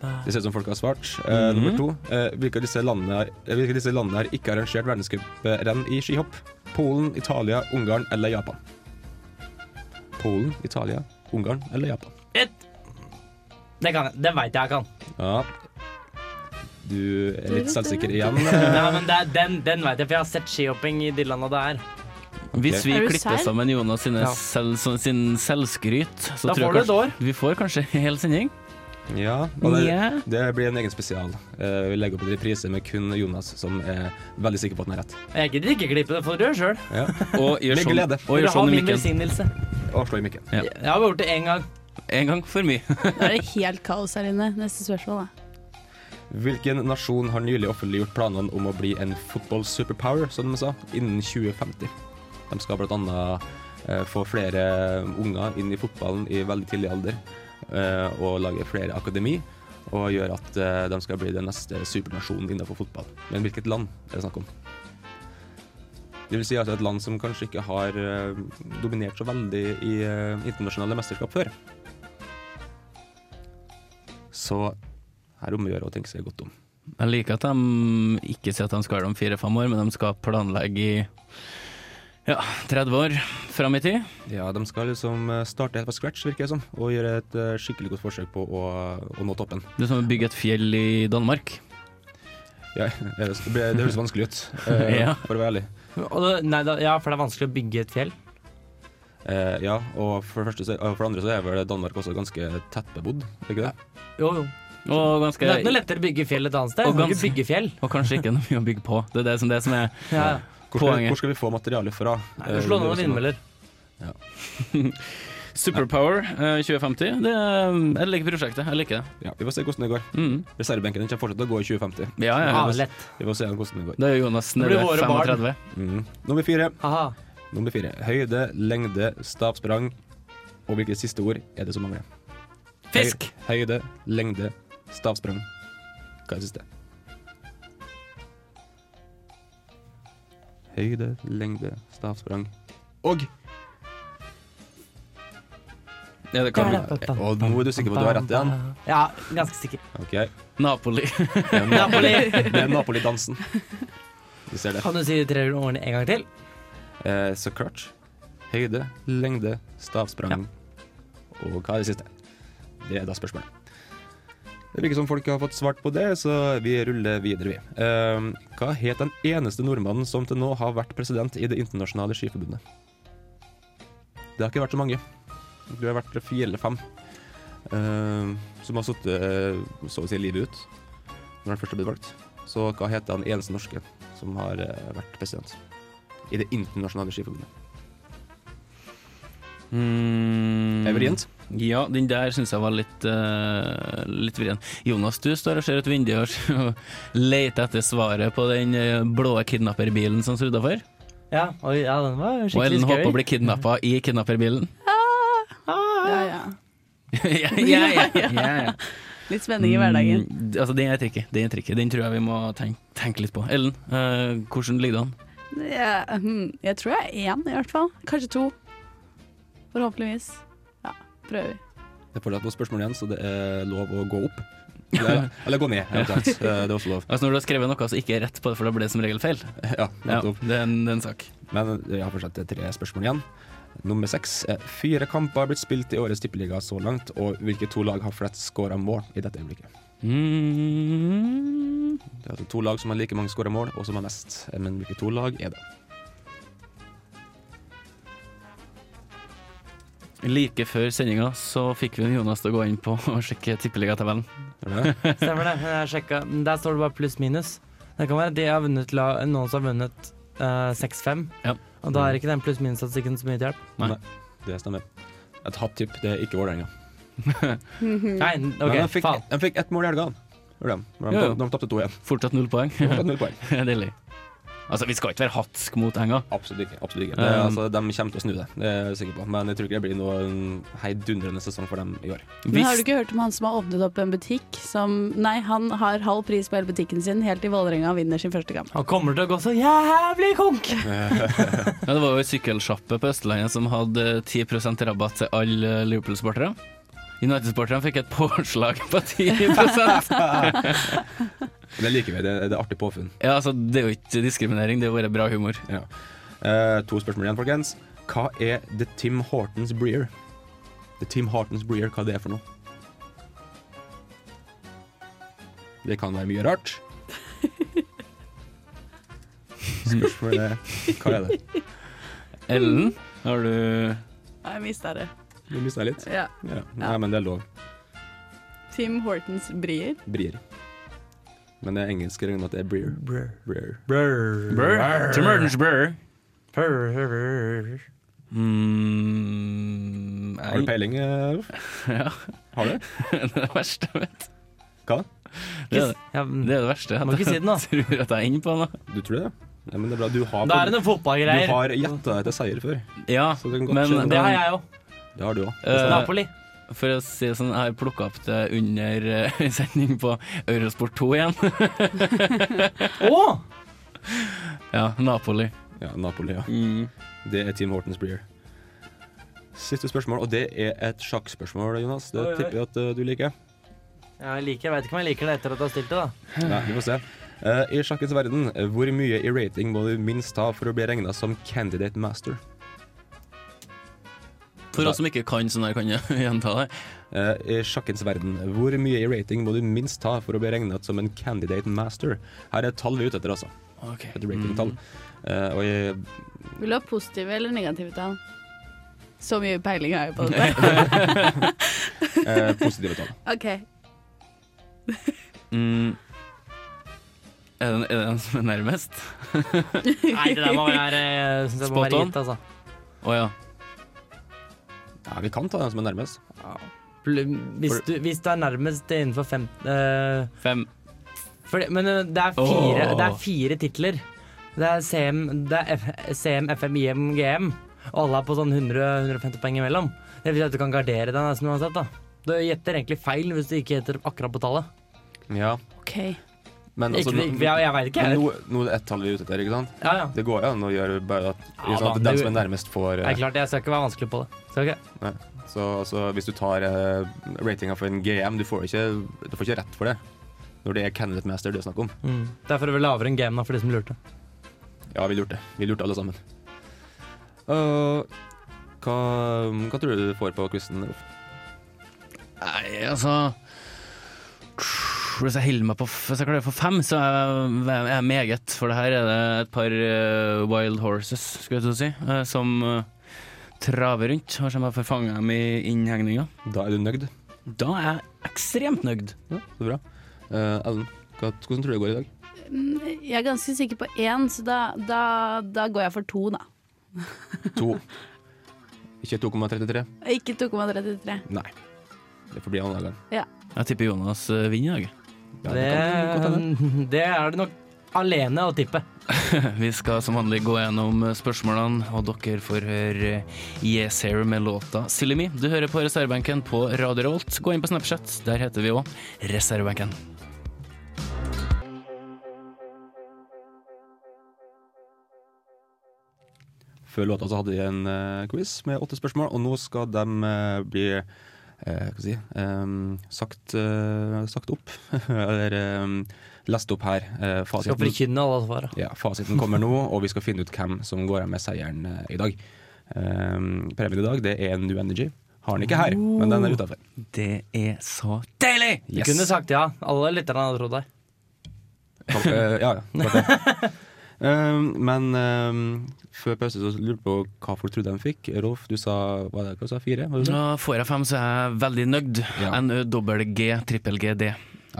[SPEAKER 6] Det ser ut som folk har svart. Eh,
[SPEAKER 4] Mhm.
[SPEAKER 6] Nummer to. eh, hvilke, av disse landene, har- eh, hvilke av disse landene har ikke arrangert verdenscuprenn i skihopp? Polen, Italia, Ungarn eller Japan? Polen, Italia, Ungarn eller Japan?
[SPEAKER 7] Et. Det kan jeg. Det veit jeg jeg kan.
[SPEAKER 6] Ja. Du er litt selvsikker igjen.
[SPEAKER 7] Nei, men det er, den den veit jeg, for jeg har sett skihopping i de landa det er.
[SPEAKER 4] Hvis vi
[SPEAKER 5] Er du
[SPEAKER 4] klipper
[SPEAKER 5] sær?
[SPEAKER 4] sammen Jonas sine
[SPEAKER 7] Ja.
[SPEAKER 4] selv, sånn- sin selvskryt, så
[SPEAKER 7] Da
[SPEAKER 4] tror
[SPEAKER 7] får du
[SPEAKER 4] jeg
[SPEAKER 7] et år.
[SPEAKER 4] kanskje vi får kanskje en hel sending.
[SPEAKER 6] Ja, og det,
[SPEAKER 4] Ja.
[SPEAKER 6] det blir en egen spesial. Eh, vi legger opp en reprise med kun Jonas, som er veldig sikker på at han har rett.
[SPEAKER 7] Jeg gidder ikke klippe det, for du gjør sjøl.
[SPEAKER 6] Ja.
[SPEAKER 4] Og gjør
[SPEAKER 6] Med
[SPEAKER 4] sånn,
[SPEAKER 6] glede.
[SPEAKER 4] og
[SPEAKER 7] Du
[SPEAKER 4] gjør
[SPEAKER 7] har
[SPEAKER 4] sånn i
[SPEAKER 7] min
[SPEAKER 4] mikken.
[SPEAKER 7] velsignelse.
[SPEAKER 6] Og slå i mikken.
[SPEAKER 7] Jeg har gjort det én gang.
[SPEAKER 4] En gang for mye.
[SPEAKER 5] Nå er det helt kaos her inne. Neste spørsmål, da.
[SPEAKER 6] Hvilken nasjon har nylig offentliggjort planene om å bli en football superpower, som de sa, innen 2050? De skal bl.a. Eh, få flere unger inn i fotballen i veldig tidlig alder, eh, og lage flere akademi, og gjøre at eh, de skal bli den neste supernasjonen innenfor fotball. Men hvilket land er det snakk om? Det vil si altså et land som kanskje ikke har eh, dominert så veldig i eh, internasjonale mesterskap før. Så her omgjør å tenke seg godt om.
[SPEAKER 4] Jeg liker at de ikke sier at de skal være det om fire-fem år, men de skal planlegge i ja, 30 år fram i tid.
[SPEAKER 6] Ja, de skal liksom eh, starte helt på scratch, virker det som, og gjøre et eh, skikkelig godt forsøk på å, å nå toppen.
[SPEAKER 4] Det er som å bygge et fjell i Danmark.
[SPEAKER 6] Ja, det ble- det høres vanskelig ut, eh,
[SPEAKER 4] Ja.
[SPEAKER 6] for å være ærlig.
[SPEAKER 7] Og det, nei, da, ja, for det er vanskelig å bygge et fjell.
[SPEAKER 6] Eh, ja, og for det, første, så- og for det andre så er vel Danmark også ganske tettbebodd, er det ikke det?
[SPEAKER 7] Jo, jo.
[SPEAKER 4] Og,
[SPEAKER 7] Men det er
[SPEAKER 4] ganske,
[SPEAKER 7] ikke noe lettere å bygge fjell et annet sted.
[SPEAKER 4] Og
[SPEAKER 7] Du kan
[SPEAKER 4] ganske-
[SPEAKER 7] ikke bygge fjell.
[SPEAKER 4] og kanskje ikke noe mye å bygge på. Det er det som, det som er
[SPEAKER 7] Ja, ja.
[SPEAKER 6] Hvor skal,
[SPEAKER 4] Poenget.
[SPEAKER 6] hvor skal vi få materialet fra?
[SPEAKER 7] Du
[SPEAKER 6] Eh, det er
[SPEAKER 7] slår ned noen
[SPEAKER 6] også noe-
[SPEAKER 7] vindmøller.
[SPEAKER 4] Superpower eh, 2050. Det, er- jeg liker prosjektet. Jeg liker det.
[SPEAKER 6] Ja, vi får se hvordan det går.
[SPEAKER 4] Mm.
[SPEAKER 6] Reservebenken den kommer fortsatt til å gå i 2050.
[SPEAKER 4] Ja, ja.
[SPEAKER 7] Ah,
[SPEAKER 4] ja.
[SPEAKER 7] lett.
[SPEAKER 6] Vi får se hvordan det går.
[SPEAKER 4] Da er Jonas
[SPEAKER 7] Det blir
[SPEAKER 4] nede
[SPEAKER 7] våre
[SPEAKER 4] 35.
[SPEAKER 6] Mm. Nummer fire.
[SPEAKER 7] Haha.
[SPEAKER 6] Nummer fire. Høyde, lengde, stavsprang. Og hvilke siste ord er det som mangler?
[SPEAKER 7] Fisk.
[SPEAKER 6] Høy, høyde, lengde, stavsprang. Hva er det siste? Høyde, lengde, stavsprang og
[SPEAKER 4] Ja, det kan vi.
[SPEAKER 6] Og nå er du sikker på at du har rett igjen?
[SPEAKER 7] Ja, ganske sikker.
[SPEAKER 6] OK. Det
[SPEAKER 4] Napoli.
[SPEAKER 6] er Napoli. Det er Napoli-dansen. Du ser det.
[SPEAKER 7] Kan du si de tre ordene en gang til?
[SPEAKER 6] Eh, så klart. Høyde, lengde, stavsprang og hva er det siste? Det er da spørsmålet. Det virker som folk har fått svart på det, så vi ruller videre, vi. Ehm, hva het den eneste nordmannen som til nå har vært president i Det internasjonale skiforbundet? Det har ikke vært så mange. Du har vært fire eller fem. Ehm, som har sittet eh, så å si livet ut når han først har blitt valgt. Så hva het den eneste norske som har eh, vært president i Det internasjonale skiforbundet?
[SPEAKER 4] Mm.
[SPEAKER 6] Er det vrient?
[SPEAKER 4] Ja, den der syns jeg var litt, eh, litt vrien. Jonas, du står og ser ut vinduet og s- og leter etter svaret på den eh, blå kidnapperbilen som står utafor.
[SPEAKER 7] Ja, oi, ja, den var
[SPEAKER 4] Og
[SPEAKER 7] skikkelig
[SPEAKER 4] Ellen
[SPEAKER 7] scary.
[SPEAKER 4] håper å bli kidnappa i kidnapperbilen.
[SPEAKER 5] Ja, ja.
[SPEAKER 4] ja, ja, ja, ja, ja.
[SPEAKER 5] Litt spenning i hverdagen.
[SPEAKER 4] Mm, altså, den er tricky. Den er tricky. Den tror jeg vi må tenke, tenke litt på. Ellen, eh, hvordan ligger det an?
[SPEAKER 5] Ja, hmm, jeg tror jeg er én, i hvert fall. Kanskje to. Forhåpentligvis. Ja, prøver.
[SPEAKER 6] Det er fortsatt noen spørsmål igjen, så det er lov å gå opp. Eller, eller gå ned, eventuelt. Eh, Det er også lov.
[SPEAKER 4] Altså Når du har skrevet noe som ikke er rett på det, for da blir det som regel feil.
[SPEAKER 6] Ja, nettopp.
[SPEAKER 4] det, er en, det er en sak.
[SPEAKER 6] Men jeg har fortsatt tre spørsmål igjen. Nummer seks. er, Fire kamper har blitt spilt i årets tippeliga så langt, og hvilke to lag har flest skåra mål i dette øyeblikket?
[SPEAKER 4] Mm,
[SPEAKER 6] Det er altså to lag som har like mange skåra mål, og som har mest. Men hvilke to lag er det?
[SPEAKER 4] Like før sendinga så fikk vi Jonas til å gå inn på og sjekke tippeligatabellen.
[SPEAKER 7] Stemmer det. men Jeg sjekka. Der står det bare pluss-minus. Det kan være at de har vunnet la, noen som har vunnet eh, 6-5.
[SPEAKER 4] Ja.
[SPEAKER 7] Og da er ikke den pluss-minus-statistikken så mye til hjelp.
[SPEAKER 4] Nei.
[SPEAKER 6] Det stemmer. Et hot tipp, det er ikke Vålerenga.
[SPEAKER 7] Nei,
[SPEAKER 6] Men
[SPEAKER 7] OK,
[SPEAKER 6] de fikk,
[SPEAKER 7] faen.
[SPEAKER 6] de fikk ett mål i helga. Gjorde de. Når
[SPEAKER 4] Jo,
[SPEAKER 6] De,
[SPEAKER 4] jo.
[SPEAKER 6] de tapte to igjen.
[SPEAKER 4] Fortsatt null poeng.
[SPEAKER 6] De tapte null poeng.
[SPEAKER 4] Deilig. Altså, vi skal ikke være hatsk mot enga.
[SPEAKER 6] Absolutt ikke. absolutt ikke. Det,
[SPEAKER 4] Um,
[SPEAKER 6] altså, de kommer til å snu det, det er jeg sikker på. Men jeg tror ikke det blir noen heidundrende sesong for dem i år.
[SPEAKER 5] Men har du ikke hørt om han som har åpnet opp en butikk som Nei, han har halv pris på hele butikken sin, helt til Vålerenga vinner sin første kamp.
[SPEAKER 7] Han kommer til å gå så jævlig konk!
[SPEAKER 4] Ja, det var jo ei sykkelsjappe på Østlandet som hadde 10 rabatt til alle Liverpool-sportere. United-sporterne fikk et påslag på 10
[SPEAKER 6] Men det liker vi. Det, det er artig påfunn.
[SPEAKER 4] Ja, altså, Det er jo ikke diskriminering, det er jo bare bra humor.
[SPEAKER 6] Ja. Eh, to spørsmål igjen, folkens. Hva er The Tim Hortons Breer? The Tim Hortons Breer, hva det er for noe? Det kan være mye rart. Spørsmålet er hva er det?
[SPEAKER 4] Ellen, har du
[SPEAKER 5] Ja, Jeg mista det.
[SPEAKER 6] Du mista litt?
[SPEAKER 5] Ja.
[SPEAKER 6] Ja. Nei, men det er lov.
[SPEAKER 5] Tim Hortons brier.
[SPEAKER 6] Brier. Men det er engelsk regner at det er Breer. Breer.
[SPEAKER 4] Brr. Tim Hortons Brr.
[SPEAKER 7] Brr.
[SPEAKER 4] Mm,
[SPEAKER 6] Har du
[SPEAKER 4] nei.
[SPEAKER 6] peiling, eh, Rolf?
[SPEAKER 4] Ja,
[SPEAKER 6] Har du?
[SPEAKER 4] det er det verste jeg vet.
[SPEAKER 6] Hva?
[SPEAKER 4] Det er det,
[SPEAKER 7] Ja,
[SPEAKER 4] det, er det verste.
[SPEAKER 7] Må ikke si den, da.
[SPEAKER 4] Jeg tror at jeg er inne på den. da.
[SPEAKER 6] Du tror det? Ja, men det er bra. Du har,
[SPEAKER 7] Da er det
[SPEAKER 6] du
[SPEAKER 7] noen fotballgreier.
[SPEAKER 6] har gjetta deg til seier før.
[SPEAKER 4] Ja,
[SPEAKER 6] Så det kan godt
[SPEAKER 4] men
[SPEAKER 6] skje.
[SPEAKER 7] Det har jeg òg.
[SPEAKER 6] Det har du òg.
[SPEAKER 4] Eh,
[SPEAKER 7] Napoli.
[SPEAKER 4] For å si det sånn, jeg har plukka opp det under eh, sending på Eurosport 2 igjen.
[SPEAKER 7] Å!
[SPEAKER 4] Ja, Napoli.
[SPEAKER 6] Ja, Napoli, ja. Det er Team Hortons Breer. Siste spørsmål, og det er et sjakkspørsmål, Jonas. Det
[SPEAKER 7] Oi, oi.
[SPEAKER 6] tipper jeg at eh, du liker.
[SPEAKER 7] Jeg liker, jeg vet ikke om jeg liker det etter at du har stilt det, da.
[SPEAKER 6] Nei, vi får se. Eh, I sjakkens verden, eh, hvor mye i rating må du minst ha for å bli regna som candidate master?
[SPEAKER 4] For oss som ikke kan sånn her, kan jeg gjenta det.
[SPEAKER 6] Eh, I sjakkens verden, hvor mye i rating må du minst ha for å bli regna som en candidate master? Her er et tall vi er ute etter, altså.
[SPEAKER 4] Ok.
[SPEAKER 6] Et ratingtall. Eh, og jeg
[SPEAKER 5] Vil du ha positive eller negative tall? Så mye peiling har jeg på dette.
[SPEAKER 6] eh, Positive tall.
[SPEAKER 5] OK.
[SPEAKER 4] Mm. Er, det, er det en som er nærmest?
[SPEAKER 7] Nei, det der må være, jeg synes jeg må
[SPEAKER 4] Spot
[SPEAKER 7] være
[SPEAKER 4] on.
[SPEAKER 7] gitt, altså.
[SPEAKER 4] Å ja.
[SPEAKER 6] Ja, vi kan ta den som er nærmest.
[SPEAKER 7] Pl- Hvis du, hvis du er nærmest det er innenfor fem eh,
[SPEAKER 4] Fem.
[SPEAKER 7] fordi, Men eh, det er fire, det er fire titler. Det er CM, det er F, CM FM, IM, GM. Og alle er på sånn 100-150 poeng imellom. Det vil si at du kan gardere deg nesten uansett. da Du gjetter egentlig feil hvis du ikke gjetter akkurat på tallet.
[SPEAKER 6] Ja.
[SPEAKER 5] ok.
[SPEAKER 6] Men altså,
[SPEAKER 7] ikke,
[SPEAKER 6] nå-
[SPEAKER 7] jeg, jeg veit ikke,
[SPEAKER 6] men
[SPEAKER 7] jeg.
[SPEAKER 6] nå, nå er det ett tall vi er ute etter, ikke sant?
[SPEAKER 7] Ja, ja.
[SPEAKER 6] Det går jo an å gjøre bare at, ikke
[SPEAKER 7] Ja,
[SPEAKER 6] sant, at
[SPEAKER 7] da,
[SPEAKER 6] den
[SPEAKER 7] det-
[SPEAKER 6] som er nærmest, får
[SPEAKER 7] Det
[SPEAKER 6] eh,
[SPEAKER 7] er klart, jeg skal ikke være vanskelig på det. Skal ikke?
[SPEAKER 6] Så altså, hvis du tar eh, ratinga for en GM, du får, ikke, du får ikke rett for det. Når det er Candidate Master det er snakk om.
[SPEAKER 7] Mm. Derfor er det lavere enn game, da, for de som lurte.
[SPEAKER 6] Ja, vi lurte. Vi lurte alle sammen. Øh, hva, hva tror du du får på quizen, Rolf?
[SPEAKER 4] Nei, altså Hvis jeg holder meg på f- Hvis jeg klarer å få fem, så er jeg, er jeg meget. For det her er det et par eh, wild horses, skulle jeg til å si, eh, som eh, traver rundt. Og så må jeg få fange dem i innhegninga.
[SPEAKER 6] Da er du nøgd.
[SPEAKER 4] Da er jeg ekstremt nøyd.
[SPEAKER 6] Ja, det er bra. Eh, Ellen, hva- hvordan tror du det går i dag?
[SPEAKER 5] Mm, Jeg er ganske sikker på én, så da, da, da går jeg for to, da.
[SPEAKER 6] To. Ikke 2,33?
[SPEAKER 5] Ikke 2,33.
[SPEAKER 6] Nei. Det får bli en annen gang.
[SPEAKER 5] Ja.
[SPEAKER 4] Jeg tipper Jonas eh, vinner i dag.
[SPEAKER 6] Ja,
[SPEAKER 7] Det, det er det nok alene å tippe.
[SPEAKER 4] Vi skal som vanlig gå gjennom eh, spørsmålene, og dere får høre eh, Yes Hair med låta Silly Me. Du hører på reservebenken på Radio Rolt. Gå inn på Snapchat, der heter vi òg Reservebenken.
[SPEAKER 6] Før låta så hadde de en eh, quiz med åtte spørsmål, og nå skal de eh, bli eh, hva skal jeg si, eh, sagt, eh, sagt opp. Eller eh, lest opp her. Eh,
[SPEAKER 7] Skal forkynne alle svarene.
[SPEAKER 6] Ja, fasiten kommer nå, og vi skal finne ut hvem som går av med seieren eh, i dag. Eh, premien i dag det er New Energy. Har den ikke her, men den er utafor.
[SPEAKER 4] Det er så deilig!
[SPEAKER 7] Du kunne sagt ja. Alle lytterne hadde trodd deg.
[SPEAKER 6] Takk, eh, ja, ja. takk, ja. Um, men um, før pause så lurte jeg på hva folk trodde de fikk. Rolf, du sa, hva var det, hva du sa fire? Var det sånn?
[SPEAKER 4] Nå får jeg fem, så er jeg veldig nøyd.
[SPEAKER 6] Ja.
[SPEAKER 4] NØ-dobbel-G, trippel-G-D.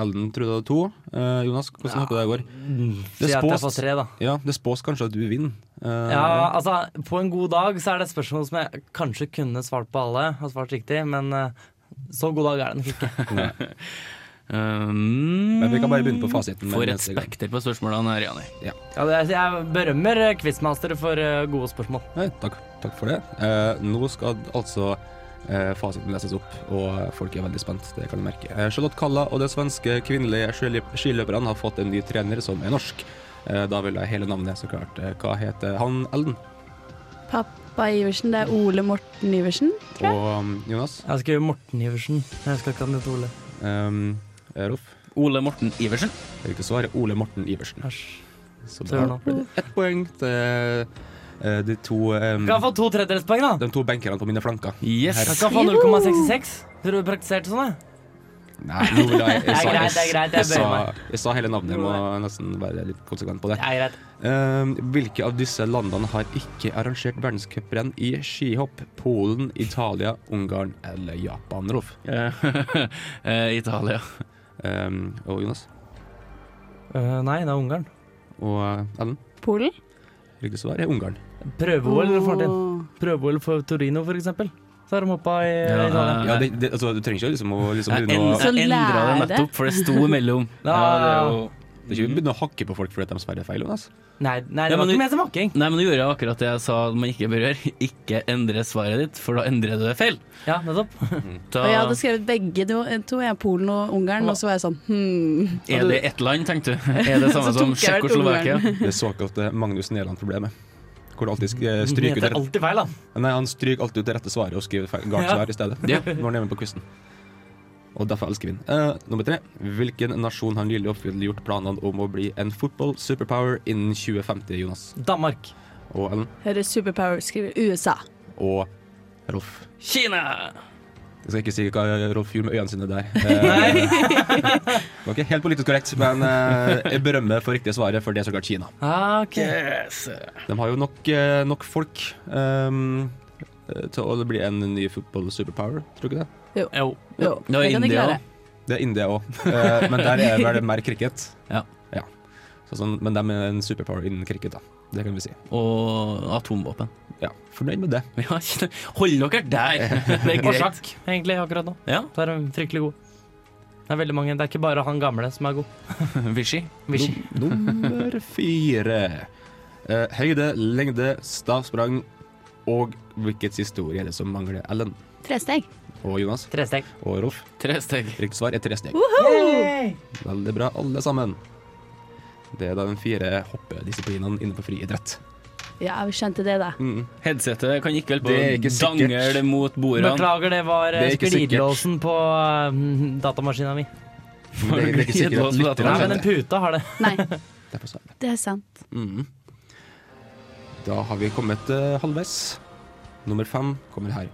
[SPEAKER 6] Ellen trodde du hadde to. Eh, Jonas, hvordan ja. håper du det går?
[SPEAKER 7] Mm. Si at jeg får tre, da.
[SPEAKER 6] Ja, det spås kanskje at du vinner. Eh,
[SPEAKER 7] Ja, altså, på en god dag så er det et spørsmål som jeg kanskje kunne svart på alle, har svart riktig, men eh, så god dag er den ikke.
[SPEAKER 4] Men
[SPEAKER 6] vi kan bare begynne på fasiten med
[SPEAKER 4] For Um, et
[SPEAKER 6] neste gang.
[SPEAKER 4] spekter på spørsmålene her, Jani.
[SPEAKER 7] Ja, det, altså, jeg berømmer eh, Quizmaster for eh, gode spørsmål.
[SPEAKER 6] Nei, takk, takk for det. Eh, nå skal altså eh, fasiten leses opp, og folk er veldig spent. Det kan du merke. Eh, Charlotte Kalla og det svenske kvinnelige skiløp- skiløperne har fått en ny trener som er norsk. Eh, da vil jeg hele navnet, så klart. Eh, hva heter han, Ellen?
[SPEAKER 5] Pappa Iversen, det er Ole Morten Iversen.
[SPEAKER 6] Og um, Jonas?
[SPEAKER 7] Jeg skriver Morten Iversen. Jeg husker ikke han het Ole.
[SPEAKER 6] Um, Rolf?
[SPEAKER 4] Ole Morten Iversen.
[SPEAKER 6] Riktig svar er Ole Morten Iversen. Så
[SPEAKER 7] Søren,
[SPEAKER 6] da
[SPEAKER 7] da.
[SPEAKER 6] ble det ett poeng til eh, de to, um,
[SPEAKER 7] Skal jeg få to tredjedelspoeng, da?
[SPEAKER 6] de to benkerne på mine flanker.
[SPEAKER 4] Yes.
[SPEAKER 7] Jeg skal få 0,66. Tror du du praktiserte sånn, jeg?
[SPEAKER 6] Nei, nå vil jeg, jeg,
[SPEAKER 7] Det er
[SPEAKER 6] sa,
[SPEAKER 7] greit, det er
[SPEAKER 6] jeg,
[SPEAKER 7] greit, jeg
[SPEAKER 6] jeg, sa,
[SPEAKER 7] bøyer meg.
[SPEAKER 6] jeg sa hele navnet. Jeg må nesten være litt konsekvent på det.
[SPEAKER 7] Det er greit.
[SPEAKER 6] Um, hvilke av disse landene har ikke arrangert verdenscuprenn i skihopp? Polen, Italia, Ungarn eller Japan, Rolf?
[SPEAKER 4] Eh, Italia.
[SPEAKER 6] Um, og Jonas?
[SPEAKER 7] Øh, nei, det er Ungarn.
[SPEAKER 6] Og eh, Ellen?
[SPEAKER 5] Polen.
[SPEAKER 6] Riktig svar er Ungarn.
[SPEAKER 7] Prøve-OL får han til.
[SPEAKER 5] Åh.
[SPEAKER 7] Prøve-OL for Torino, for eksempel. Så har de hoppa i
[SPEAKER 4] Ja,
[SPEAKER 7] Italia.
[SPEAKER 4] eh,
[SPEAKER 6] Ja, det, det, altså, du trenger ikke liksom å liksom,
[SPEAKER 4] Jeg,
[SPEAKER 6] begynne å
[SPEAKER 4] end,
[SPEAKER 5] Så
[SPEAKER 4] jeg endra det
[SPEAKER 5] lære.
[SPEAKER 4] nettopp, for det sto imellom.
[SPEAKER 7] Ja,
[SPEAKER 4] det er jo-
[SPEAKER 6] Det er ikke begynne å hakke på folk fordi de sverger feil. Jonas.
[SPEAKER 7] Nei, nei,
[SPEAKER 4] Ja, men
[SPEAKER 7] det var
[SPEAKER 4] du-
[SPEAKER 7] ikke ment som hakking.
[SPEAKER 4] Nei, men nå gjorde jeg akkurat det jeg sa at man ikke bør gjøre. Ikke endre svaret ditt, for da endrer du det feil.
[SPEAKER 7] Ja, nettopp.
[SPEAKER 4] Da
[SPEAKER 5] Og jeg hadde skrevet begge to, eh, to jeg, Polen og Ungarn, og så var jeg sånn hmm.
[SPEAKER 4] er det ett land, tenkte du. Er det samme
[SPEAKER 5] Så
[SPEAKER 4] som
[SPEAKER 5] tok jeg hvert
[SPEAKER 4] Tsjekkoslovakia?
[SPEAKER 6] Det såkalte Magnus Nederland-problemet. Hvor det alltid eh,
[SPEAKER 7] Den
[SPEAKER 6] stryker
[SPEAKER 7] heter
[SPEAKER 6] ut
[SPEAKER 7] alltid feil, da.
[SPEAKER 6] Nei, han stryker alltid ut det rette svaret og skriver feil galt
[SPEAKER 7] Ja.
[SPEAKER 6] svar i stedet.
[SPEAKER 4] Ja.
[SPEAKER 6] Når han er med på quizen. Og derfor elsker vi den. Eh, nummer tre. Hvilken nasjon har nylig oppfyllgjort planene om å bli en football superpower innen 2050, Jonas?
[SPEAKER 7] Danmark.
[SPEAKER 6] Og Ellen?
[SPEAKER 5] Høres superpower, skriver USA.
[SPEAKER 6] Og Rolf.
[SPEAKER 4] Kina!
[SPEAKER 6] Jeg skal ikke si hva Rolf gjorde med øynene sine der. Eh, det var ikke helt politisk korrekt, men eh, jeg berømmer for riktige svaret, for det er så klart Kina.
[SPEAKER 7] Ah, ok.
[SPEAKER 4] Yes.
[SPEAKER 6] De har jo nok, eh, nok folk ehm, eh, til å bli en ny football superpower, tror du ikke det?
[SPEAKER 7] Jo.
[SPEAKER 5] Jo,
[SPEAKER 4] Det var
[SPEAKER 5] kan de
[SPEAKER 4] India.
[SPEAKER 5] klare.
[SPEAKER 6] Det er India òg, men der er vel mer cricket.
[SPEAKER 4] Ja.
[SPEAKER 6] Så sånn, men de er en superpower innen cricket, da. Det kan vi si.
[SPEAKER 4] Og atomvåpen.
[SPEAKER 6] Ja, Fornøyd med det.
[SPEAKER 4] Ja, Kina. hold dere der! Det er
[SPEAKER 7] Og
[SPEAKER 4] greit.
[SPEAKER 7] sjakk, egentlig, akkurat nå.
[SPEAKER 4] Ja,
[SPEAKER 7] Så er de fryktelig gode. Det er veldig mange. Det er ikke bare han gamle som er god.
[SPEAKER 4] Vichy.
[SPEAKER 7] Vichy.
[SPEAKER 6] Nummer fire. Eh, høyde, lengde, stavsprang og hvilket historie er det som mangler Ellen?
[SPEAKER 5] Tresteg.
[SPEAKER 6] Og Jonas
[SPEAKER 7] Tresteg.
[SPEAKER 6] og Rolf.
[SPEAKER 4] Tre steg.
[SPEAKER 6] Riktig svar er tre steg. Veldig bra, alle sammen. Det er da de fire hoppedisiplinene innenfor friidrett.
[SPEAKER 5] Ja, vi skjønte det, da.
[SPEAKER 6] Mm.
[SPEAKER 4] Headsetet kan ikke vel
[SPEAKER 6] Det er ikke
[SPEAKER 4] på
[SPEAKER 6] sikkert.
[SPEAKER 4] dangel mot bordene.
[SPEAKER 7] Beklager, det var
[SPEAKER 6] Det er ikke sikkert.
[SPEAKER 7] sklidlåsen på uh, datamaskina mi.
[SPEAKER 6] Men Det, det er ikke sikkert at lytterne
[SPEAKER 7] Nei, men
[SPEAKER 6] skjønner
[SPEAKER 7] den
[SPEAKER 6] det.
[SPEAKER 7] puta har det.
[SPEAKER 5] Nei,
[SPEAKER 6] Derfor sa jeg det.
[SPEAKER 5] det er sant.
[SPEAKER 6] Mhm. Da har vi kommet eh, halvveis. Nummer fem kommer her.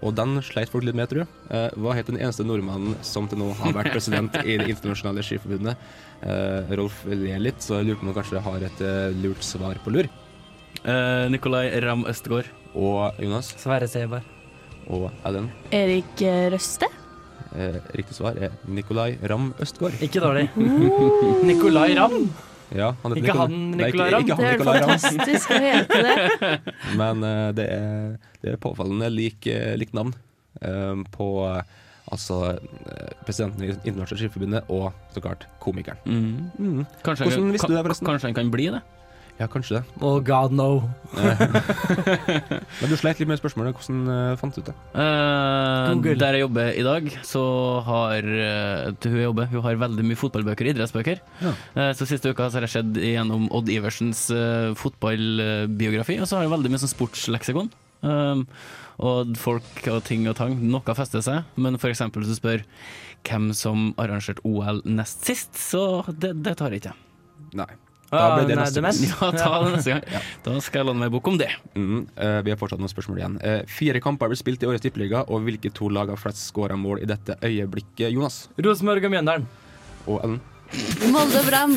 [SPEAKER 6] Og den sleit folk litt med, tror jeg. Eh, var helt den eneste nordmannen som til nå har vært president i Det internasjonale skiforbundet. Eh, Rolf ler litt, så jeg lurer på om han kanskje har et eh, lurt svar på lur.
[SPEAKER 4] Eh, Nikolai Ram Østegård.
[SPEAKER 6] Og Jonas.
[SPEAKER 7] Sverre Seber.
[SPEAKER 6] Og Ellen.
[SPEAKER 5] Erik eh, Røste?
[SPEAKER 6] Eh, riktig svar er Nikolai Ram Østgaard.
[SPEAKER 7] Ikke dårlig. Nikolai Ramm.
[SPEAKER 6] Ja, han heter
[SPEAKER 7] Ikke han
[SPEAKER 6] Nei,
[SPEAKER 7] Nicolai Ramm.
[SPEAKER 6] Ikke, ikke
[SPEAKER 5] Det
[SPEAKER 6] han
[SPEAKER 5] er
[SPEAKER 6] Nicolai Ramm.
[SPEAKER 5] fantastisk å hete det.
[SPEAKER 6] Men eh, det, er, det er påfallende lik, eh, likt navn eh, på eh, altså eh, presidenten i Internasjonale Skiforbundet og så klart komikeren.
[SPEAKER 4] Mm.
[SPEAKER 6] Mm.
[SPEAKER 4] Kanskje,
[SPEAKER 6] Hvordan visste
[SPEAKER 4] kan-
[SPEAKER 6] du det, forresten?
[SPEAKER 4] Kanskje han kan bli det?
[SPEAKER 6] Ja, kanskje det.
[SPEAKER 7] Oh god no.
[SPEAKER 6] Men du sleit litt med spørsmålet. Hvordan eh, fant du ut det?
[SPEAKER 4] Eh,
[SPEAKER 7] Google.
[SPEAKER 4] der jeg jobber i dag, så har eh, til hun jeg jobber, hun har veldig mye fotballbøker, idrettsbøker.
[SPEAKER 6] Ja.
[SPEAKER 4] Eh, så siste uka så har jeg sett gjennom Odd Iversens eh, fotballbiografi, og så har jeg veldig mye sånn sportsleksikon. Um, og folk og ting og tang. Noe fester seg, men for eksempel hvis du spør hvem som arrangerte OL nest sist, så det, det tar jeg ikke.
[SPEAKER 6] Nei. Da ble det
[SPEAKER 7] Ah, nei,
[SPEAKER 6] neste
[SPEAKER 7] det mest.
[SPEAKER 4] Ja, ta det neste gang. Da skal jeg låne meg bok om det.
[SPEAKER 6] Mm, eh, vi har fortsatt noen spørsmål igjen. Eh, fire kamper ble spilt i årets tippeliga, og hvilke to lag har flest skåra mål i dette øyeblikket? Jonas
[SPEAKER 7] Rosenborg og Mjøndalen.
[SPEAKER 6] og Ellen
[SPEAKER 5] Molde Brann.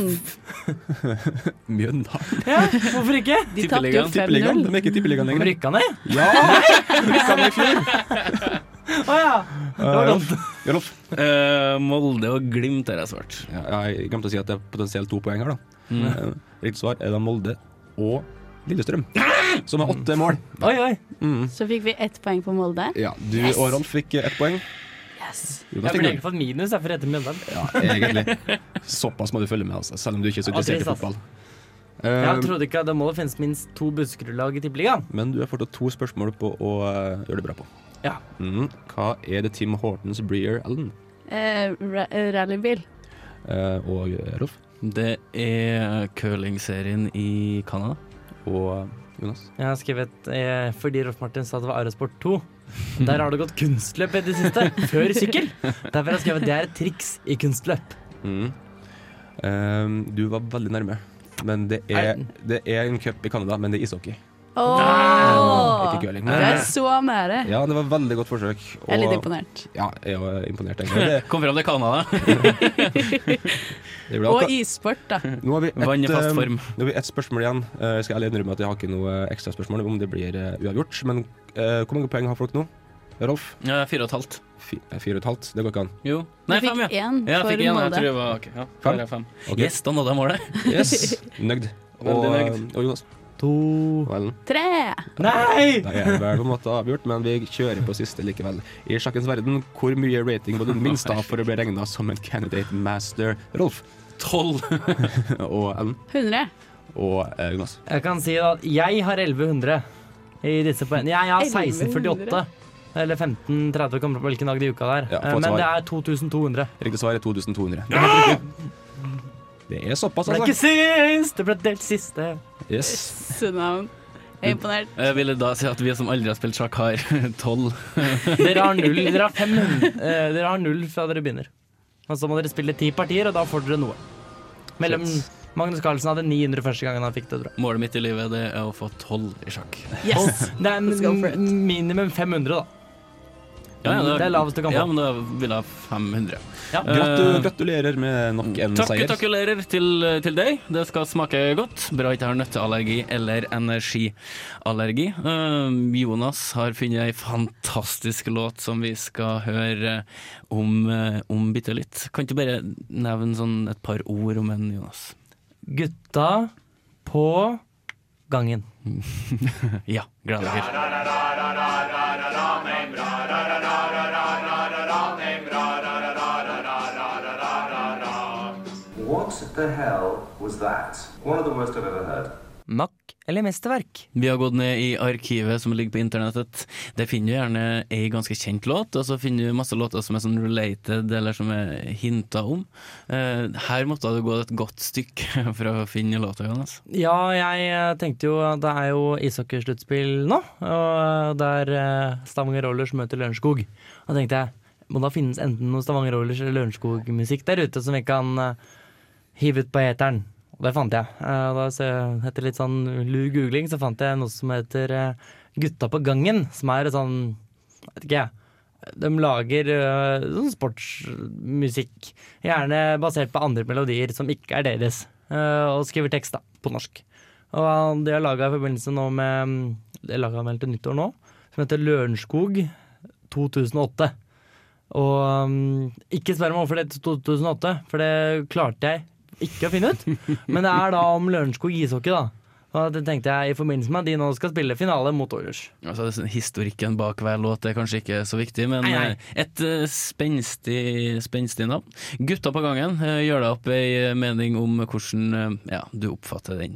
[SPEAKER 6] Mjøndalen.
[SPEAKER 7] Ja, hvorfor ikke?
[SPEAKER 5] De tapte jo
[SPEAKER 4] Tippeligaen.
[SPEAKER 6] Tippeligaen?
[SPEAKER 5] 5-0.
[SPEAKER 6] De er ikke i tippeligaen
[SPEAKER 7] De
[SPEAKER 6] lenger.
[SPEAKER 7] rykka ned.
[SPEAKER 6] Ja!
[SPEAKER 7] Å ja.
[SPEAKER 6] Eh,
[SPEAKER 7] Det var godt.
[SPEAKER 6] Rolf.
[SPEAKER 4] Eh, Molde og Glimt har jeg svart.
[SPEAKER 6] Ja, jeg glemte å si at det er potensielt to poeng her, da.
[SPEAKER 7] Mm.
[SPEAKER 6] Eh, Riktig svar er da Molde og Lillestrøm, som har åtte mål.
[SPEAKER 7] Oi, oi.
[SPEAKER 5] Så fikk vi ett poeng på Molde.
[SPEAKER 6] Ja, du og Rolf fikk eh, ett poeng.
[SPEAKER 5] Yes.
[SPEAKER 6] Jonas
[SPEAKER 7] Jeg
[SPEAKER 6] fikk
[SPEAKER 7] burde
[SPEAKER 6] null.
[SPEAKER 7] egentlig fått minus jeg, for å hete Mjøndalen.
[SPEAKER 6] Ja, egentlig. Såpass må du følge med, altså, selv om du ikke er så
[SPEAKER 7] Ja,
[SPEAKER 6] interessert i
[SPEAKER 7] trist, ass.
[SPEAKER 6] fotball.
[SPEAKER 7] Jeg
[SPEAKER 6] Eh,
[SPEAKER 7] trodde ikke at det må det finnes minst to Buskerud-lag i Tippeligaen.
[SPEAKER 6] men du har fortsatt to spørsmål på å eh, gjøre det bra på.
[SPEAKER 7] Ja.
[SPEAKER 6] Mm, hva er det Tim Hortons Breer Allen
[SPEAKER 5] Eh, ra rallybil.
[SPEAKER 6] eh, og eh, Rolf
[SPEAKER 4] Det er curlingserien i Canada.
[SPEAKER 6] og Jonas?
[SPEAKER 7] Jeg har skrevet eh, fordi Rolf Martin sa det var Aerosport 2. Der har det gått kunstløp i det siste, før sykkel. Derfor har jeg skrevet det er et triks i kunstløp.
[SPEAKER 6] Mm. Eh, du var veldig nærme. Men det er, det er en cup i Canada, men det er ishockey.
[SPEAKER 5] Åh!
[SPEAKER 6] Ikke curling.
[SPEAKER 5] Det er så nære.
[SPEAKER 6] Ja, det var et veldig godt forsøk.
[SPEAKER 5] Jeg er litt imponert.
[SPEAKER 6] Ja, jeg var imponert. egentlig.
[SPEAKER 4] Kom fram til Canada.
[SPEAKER 6] Det, det ble
[SPEAKER 5] Og
[SPEAKER 6] alt.
[SPEAKER 5] issport, da.
[SPEAKER 6] Nå har vi
[SPEAKER 4] Vann i
[SPEAKER 6] ett
[SPEAKER 4] fast
[SPEAKER 6] eh,
[SPEAKER 4] form.
[SPEAKER 6] nå har vi ett spørsmål igjen. Eh, Jeg skal ærlig innrømme at jeg har ikke noe ekstraspørsmål om det blir eh, uavgjort. Men eh, hvor mange poeng har folk nå? Rolf?
[SPEAKER 4] Ja, fire og et halvt.
[SPEAKER 6] Fi- eh, Fire og et halvt? Det går ikke an.
[SPEAKER 4] Jo.
[SPEAKER 5] Du
[SPEAKER 4] Nei, fem,
[SPEAKER 5] fikk
[SPEAKER 4] ja.
[SPEAKER 5] én
[SPEAKER 4] Ja, jeg
[SPEAKER 5] for
[SPEAKER 4] fikk én. Jeg tror
[SPEAKER 5] Molde.
[SPEAKER 4] det var ok. Ja,
[SPEAKER 6] Fem?
[SPEAKER 4] fem? fem.
[SPEAKER 6] Ok.
[SPEAKER 4] Yes, da nådde jeg målet.
[SPEAKER 6] Yes. Nøgd. Og, eh,
[SPEAKER 4] Veldig nøgd.
[SPEAKER 6] og Jonas.
[SPEAKER 7] To
[SPEAKER 6] Og Ellen.
[SPEAKER 5] Tre!
[SPEAKER 7] Nei!
[SPEAKER 6] Da er det vel på en måte avgjort, men vi kjører på siste likevel. I sjakkens verden, hvor mye rating må du minst ha for å bli regna som en candidate master? Rolf
[SPEAKER 4] Tolv.
[SPEAKER 6] og Ellen
[SPEAKER 5] 100.
[SPEAKER 6] og eh, Jonas.
[SPEAKER 7] Jeg kan si at jeg har 1100 i disse poengene. Jeg har 1648. Eller 1530, kommer an på hvilken dag i uka det er.
[SPEAKER 6] Ja, få
[SPEAKER 7] Eh,
[SPEAKER 6] et
[SPEAKER 7] Men
[SPEAKER 6] svar.
[SPEAKER 7] det er 2200.
[SPEAKER 6] Riktig svar er 2200. Det er såpass,
[SPEAKER 7] Det ble ikke
[SPEAKER 6] altså.
[SPEAKER 7] sist! Det ble delt siste.
[SPEAKER 6] Yes.
[SPEAKER 5] Sunnavn. Jeg er imponert.
[SPEAKER 4] Jeg ville da si at vi som aldri har spilt sjakk, har tolv.
[SPEAKER 7] Dere har null, dere har 500. Eh, dere har null fra dere begynner. Og så må dere spille ti partier, og da får dere noe. Mellom Magnus Carlsen hadde 900 første gangen han fikk det, tror jeg.
[SPEAKER 4] Målet mitt i livet det er å få tolv i sjakk.
[SPEAKER 5] Yes!
[SPEAKER 7] Det er
[SPEAKER 5] Let's go for it.
[SPEAKER 7] m- minimum 500, da. Det er lavest du kan få.
[SPEAKER 4] Mm. Ja, men da ville jeg ha 500.
[SPEAKER 7] Ja.
[SPEAKER 6] Gratu
[SPEAKER 4] Eh,
[SPEAKER 6] gratulerer med nok en
[SPEAKER 4] Takk,
[SPEAKER 6] seier.
[SPEAKER 4] gratulerer til, til deg. Det skal smake godt. Bra ikke har nøtteallergi eller energiallergi. Eh, Jonas har funnet ei fantastisk låt som vi skal høre om, eh, om bitte litt. Kan ikke du bare nevne sånn et par ord om den, Jonas?
[SPEAKER 7] Gutta på gangen.
[SPEAKER 4] Ja, gleder dere.
[SPEAKER 12] What the hell was that? One of the worst I've ever heard.
[SPEAKER 7] Makk eller mesterverk?
[SPEAKER 4] Vi har gått ned i arkivet som ligger på internettet. Der finner du gjerne ei ganske kjent låt, og så finner du masse låter som er sånn related, eller som er hinta om. Eh, her måtte du gå et godt stykke for å finne låta, Jonas.
[SPEAKER 7] Ja, jeg eh, tenkte jo at det er jo ishockeysluttspill nå, og der eh, Stavanger Rollers møter Lørenskog. Og da tenkte jeg, må da finnes enten noe Stavanger Rollers eller Lørenskog-musikk der ute som vi kan eh, hive ut på eteren. Og det fant jeg. Eh, Da, så- etter litt sånn lur googling så fant jeg noe som heter eh, Gutta på gangen, som er et sånn vet ikke jeg. De lager øh, sånn sportsmusikk, gjerne basert på andre melodier som ikke er deres, øh, og skriver tekst da, på norsk. Og eh, han- de har laga i forbindelse nå med mm, Det laga han vel til nyttår nå, som heter Lørenskog 2008. Og mm, ikke spør meg hvorfor det heter 2008, for det klarte jeg ikke å finne ut. Men det er da om Lørenskog ishockey, da. Og det tenkte jeg i forbindelse med at de nå skal spille finale mot Oilers.
[SPEAKER 4] Altså, det er sånn- historikken bak hver låt er kanskje ikke så viktig, men
[SPEAKER 7] Nei, nei.
[SPEAKER 4] eh, et eh, spenstig, spenstig navn. Gutta på gangen, eh, gjør deg opp ei mening om hvordan eh, ja, du oppfatter den.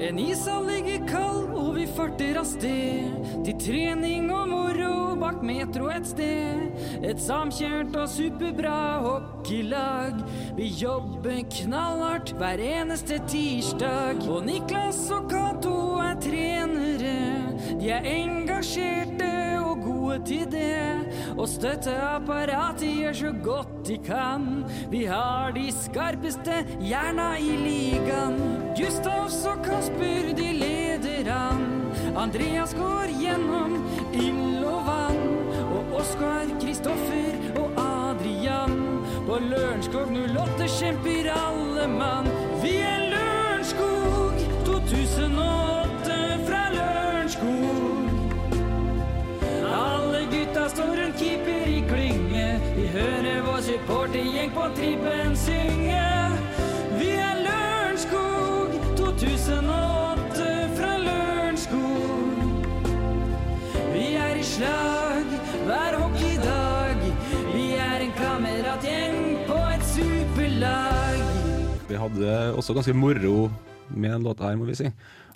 [SPEAKER 9] En ishall ligger kald, og vi farter av sted. Til trening og moro bak metro et sted. Et samkjørt og superbra hockeylag. Vi jobber knallhardt hver eneste tirsdag. Og Niklas og Cato er trenere. De er engasjerte og gode til det. Og støtteapparatet gjør så godt de kan. Vi har de skarpeste hjerna i ligaen. Gustavs og Kasper, de leder an. Andreas går gjennom ild og vann. Og Oskar, Kristoffer og Adrian. På Lørenskog 08 kjemper alle mann. Vi er Lørenskog 2008 fra Lørenskog. Alle gutta står rundt keeper i klynge. Vi hører vår supportergjeng på trippen synge. Vi er Lørenskog 2008 fra Lørenskog. Vi er i slag hver hockeydag. Vi er en kameratgjeng på et superlag.
[SPEAKER 6] Vi hadde også ganske moro med den låta her, må vi si.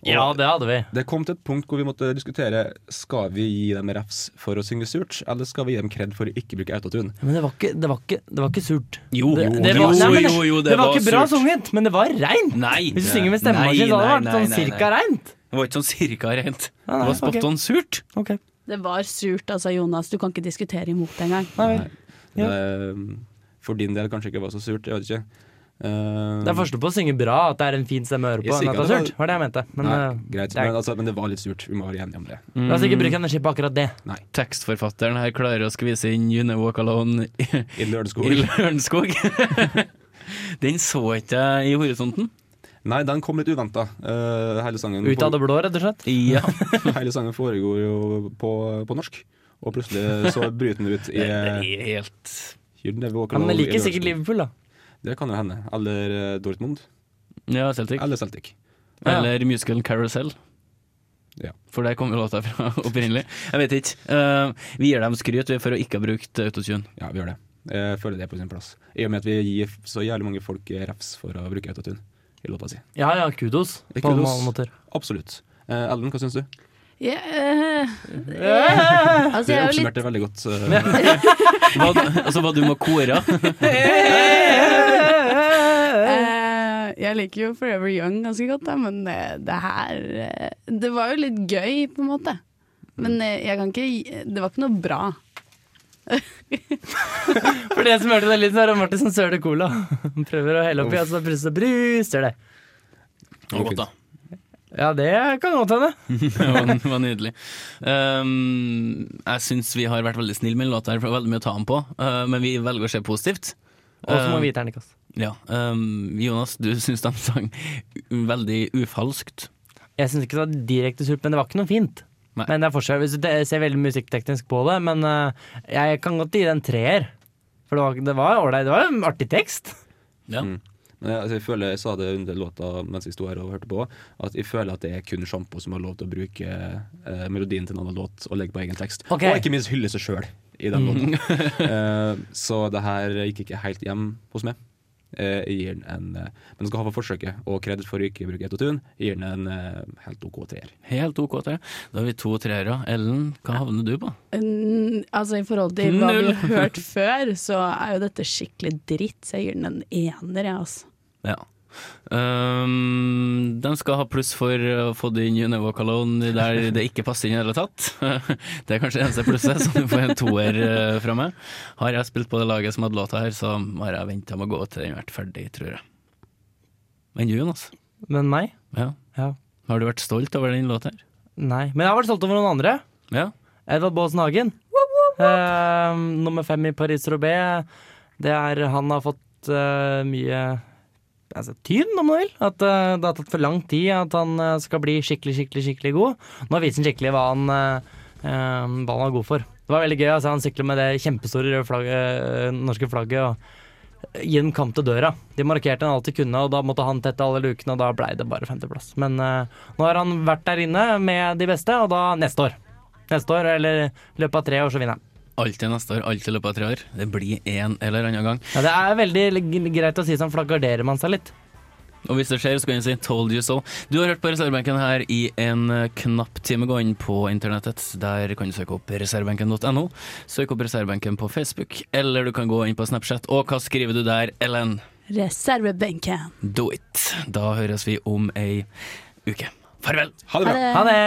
[SPEAKER 7] Ja, det hadde vi.
[SPEAKER 6] Det kom til et punkt hvor vi måtte diskutere Skal vi gi dem refs for å synge surt, eller skal vi gi dem kred for å ikke bruke autotune.
[SPEAKER 7] Men det var ikke, det var ikke, det var ikke surt.
[SPEAKER 6] Jo,
[SPEAKER 7] det,
[SPEAKER 6] jo,
[SPEAKER 7] det
[SPEAKER 6] jo,
[SPEAKER 7] var, nei, men,
[SPEAKER 6] jo, jo,
[SPEAKER 7] det, var ikke bra sunget, men det var reint!
[SPEAKER 4] Nei,
[SPEAKER 7] Hvis du
[SPEAKER 4] det-
[SPEAKER 7] synger
[SPEAKER 4] nei,
[SPEAKER 7] med stemmemaskin, så hadde det
[SPEAKER 4] nei,
[SPEAKER 7] vært sånn
[SPEAKER 4] nei, nei,
[SPEAKER 7] cirka
[SPEAKER 4] nei.
[SPEAKER 7] reint.
[SPEAKER 4] Det var ikke sånn cirka rent.
[SPEAKER 7] Nei, nei,
[SPEAKER 4] det var spot
[SPEAKER 7] ok.
[SPEAKER 4] on surt.
[SPEAKER 5] Det var surt, altså, Jonas. Du kan ikke diskutere imot det engang.
[SPEAKER 6] Det, eh, for din del kanskje ikke var så surt, jeg vet ikke. Eh,
[SPEAKER 7] Det er forskjell på å synge bra, at det er en fin stemme å høre
[SPEAKER 6] Jeg
[SPEAKER 7] på,
[SPEAKER 6] sier
[SPEAKER 7] enn
[SPEAKER 6] ikke
[SPEAKER 7] at det er
[SPEAKER 6] at det
[SPEAKER 7] surt. Var det jeg mente. Men,
[SPEAKER 6] Nei,
[SPEAKER 7] øh,
[SPEAKER 6] greit,
[SPEAKER 7] det er-
[SPEAKER 6] men, altså, men det var litt surt. Vi må være enige om det.
[SPEAKER 7] La oss altså, ikke bruke energi på akkurat det.
[SPEAKER 4] Tekstforfatteren her klarer å skvise inn You Never Walk Alone i,
[SPEAKER 7] Mm.
[SPEAKER 6] I Lørenskog.
[SPEAKER 4] I Lørenskog. den så ikke jeg i horisonten.
[SPEAKER 6] Nei, den kom litt uventa. hele sangen
[SPEAKER 7] Ut av det blå, rett og slett?
[SPEAKER 4] Ja.
[SPEAKER 6] hele sangen foregår jo på, på norsk, og plutselig så bryter den ut i
[SPEAKER 4] Det er helt
[SPEAKER 6] You'll never walk
[SPEAKER 7] Ja, men
[SPEAKER 6] alone i
[SPEAKER 7] jeg liker sikkert
[SPEAKER 6] Lørenskog.
[SPEAKER 7] Liverpool, da.
[SPEAKER 6] Det kan jo hende. Eller eh, Dortmund.
[SPEAKER 4] Ja, Celtic.
[SPEAKER 6] Eller Celtic.
[SPEAKER 4] Eller musicalen Carousel.
[SPEAKER 6] Ja.
[SPEAKER 4] For der kom jo låta fra opprinnelig. Jeg vet ikke. Eh, vi gir dem skryt vi, for å ikke ha brukt autotune.
[SPEAKER 6] Ja, vi gjør det. Jeg føler det er på sin plass. I og med at vi gir så jævlig mange folk eh, refs for å bruke autotune i låta si.
[SPEAKER 7] Ja ja, kudos.
[SPEAKER 6] Eh,
[SPEAKER 7] På
[SPEAKER 6] kudos.
[SPEAKER 7] alle måter.
[SPEAKER 6] Absolutt. Eh, Ellen, hva syns du?
[SPEAKER 5] Ja, eh, eh, altså,
[SPEAKER 6] det
[SPEAKER 5] jeg er jo litt
[SPEAKER 6] oppsummerte veldig godt. eh,
[SPEAKER 4] Hva, altså hva du må kore.
[SPEAKER 5] Eh, jeg liker jo Forever Young ganske godt, da, men eh, det her eh, Det var jo litt gøy, på en måte. Men eh, jeg kan ikke gi- Det var ikke noe bra.
[SPEAKER 7] For det som hørte det litt, så er det Martin som søler cola. Han prøver å helle oppi, og så plutselig bruser det.
[SPEAKER 4] Det var godt, da.
[SPEAKER 7] Ja, det kan godt hende.
[SPEAKER 4] det var, det var nydelig. Ehm, jeg syns vi har vært veldig snille med den låta, her, for det er veldig mye å ta den på. Eh, men vi velger å se positivt.
[SPEAKER 7] Og så må
[SPEAKER 4] Ehm,
[SPEAKER 6] Eh.
[SPEAKER 7] altså. vi gi terningkast.
[SPEAKER 4] Ja. ehm, Jonas, du syns de sang u- veldig ufalskt.
[SPEAKER 7] Jeg syns ikke det var direkte surt, men det var ikke noe fint.
[SPEAKER 4] Nei.
[SPEAKER 7] Men det er forskjell. Hvis du te- ser veldig musikkteknisk på det, men øh, jeg kan godt gi den treer. For det var- det var ålreit. Det var en artig tekst.
[SPEAKER 6] Mm. Men jeg, altså, jeg føler, jeg sa det under låta mens jeg sto her og hørte på, at jeg føler at det er kun Sjampo som har lov til å bruke eh, melodien til en annen låt og legge på egen tekst.
[SPEAKER 7] Ok.
[SPEAKER 6] Og ikke minst hylle seg sjøl i den
[SPEAKER 7] Mm.
[SPEAKER 6] låta. Eh, så det her gikk ikke helt hjem hos meg. Eh, jeg gir den en eh, Men skal ha for forsøket og kred for å ikke bruke autotune. Jeg gir den en eh, helt OK treer.
[SPEAKER 4] Helt OK til. Da har vi to treere. Ellen, hva havner du på?
[SPEAKER 5] Mm, altså I forhold til hva vi
[SPEAKER 4] Null.
[SPEAKER 5] har hørt før, så er jo dette skikkelig dritt, så jeg gir den en ener, jeg, altså.
[SPEAKER 4] Ja. Ehm, de skal ha pluss for å få det inn Geneva Cologne der det ikke passer inn i det hele tatt. det er kanskje det eneste plusset, så du får en toer eh, fra meg. Har jeg spilt på det laget som hadde låta her, så har jeg venta med å gå til den har vært ferdig, tror jeg. Men du, Jonas?
[SPEAKER 7] Men meg?
[SPEAKER 4] Ja.
[SPEAKER 7] Ja.
[SPEAKER 4] Har du vært stolt over den låta her?
[SPEAKER 7] Nei. Men jeg har vært stolt over noen andre.
[SPEAKER 4] Ja.
[SPEAKER 7] Edvard Baasen Hagen. Eh, nummer fem i Paris Roubais. Det er Han har fått eh, mye altså, tyn, om du vil. At eh, det har tatt for lang tid at han eh, skal bli skikkelig, skikkelig skikkelig god. Nå viser han skikkelig hva han, eh, eh, hva han er god for. Det var veldig gøy. Altså, han sykler med det kjempestore røde flagget, eh, norske flagget. og Gi dem kamp til døra. De markerte han alltid kunne, og da måtte han tette alle lukene, og da blei det bare femteplass. Men eh, nå har han vært der inne med de beste, og da neste år. Neste år, eller i løpet av tre år, så vinner han.
[SPEAKER 4] Alltid neste år, alltid i løpet av tre år. Det blir en eller annen gang.
[SPEAKER 7] Ja, det er veldig l- greit å si sånn, for da garderer man seg litt.
[SPEAKER 4] Og hvis det skjer, så kan jeg si 'told you so'. Du har hørt på reservebenken her i en eh, knapp time. Gå inn på internettet. Der kan du søke opp reservebenken.no. Søk opp reservebenken på Facebook, eller du kan gå inn på Snapchat. Og hva skriver du der, Ellen?
[SPEAKER 5] Reservebenken.
[SPEAKER 4] Do it! Da høres vi om ei uke. Farvel!
[SPEAKER 5] bra. Ha det.
[SPEAKER 7] Ha det.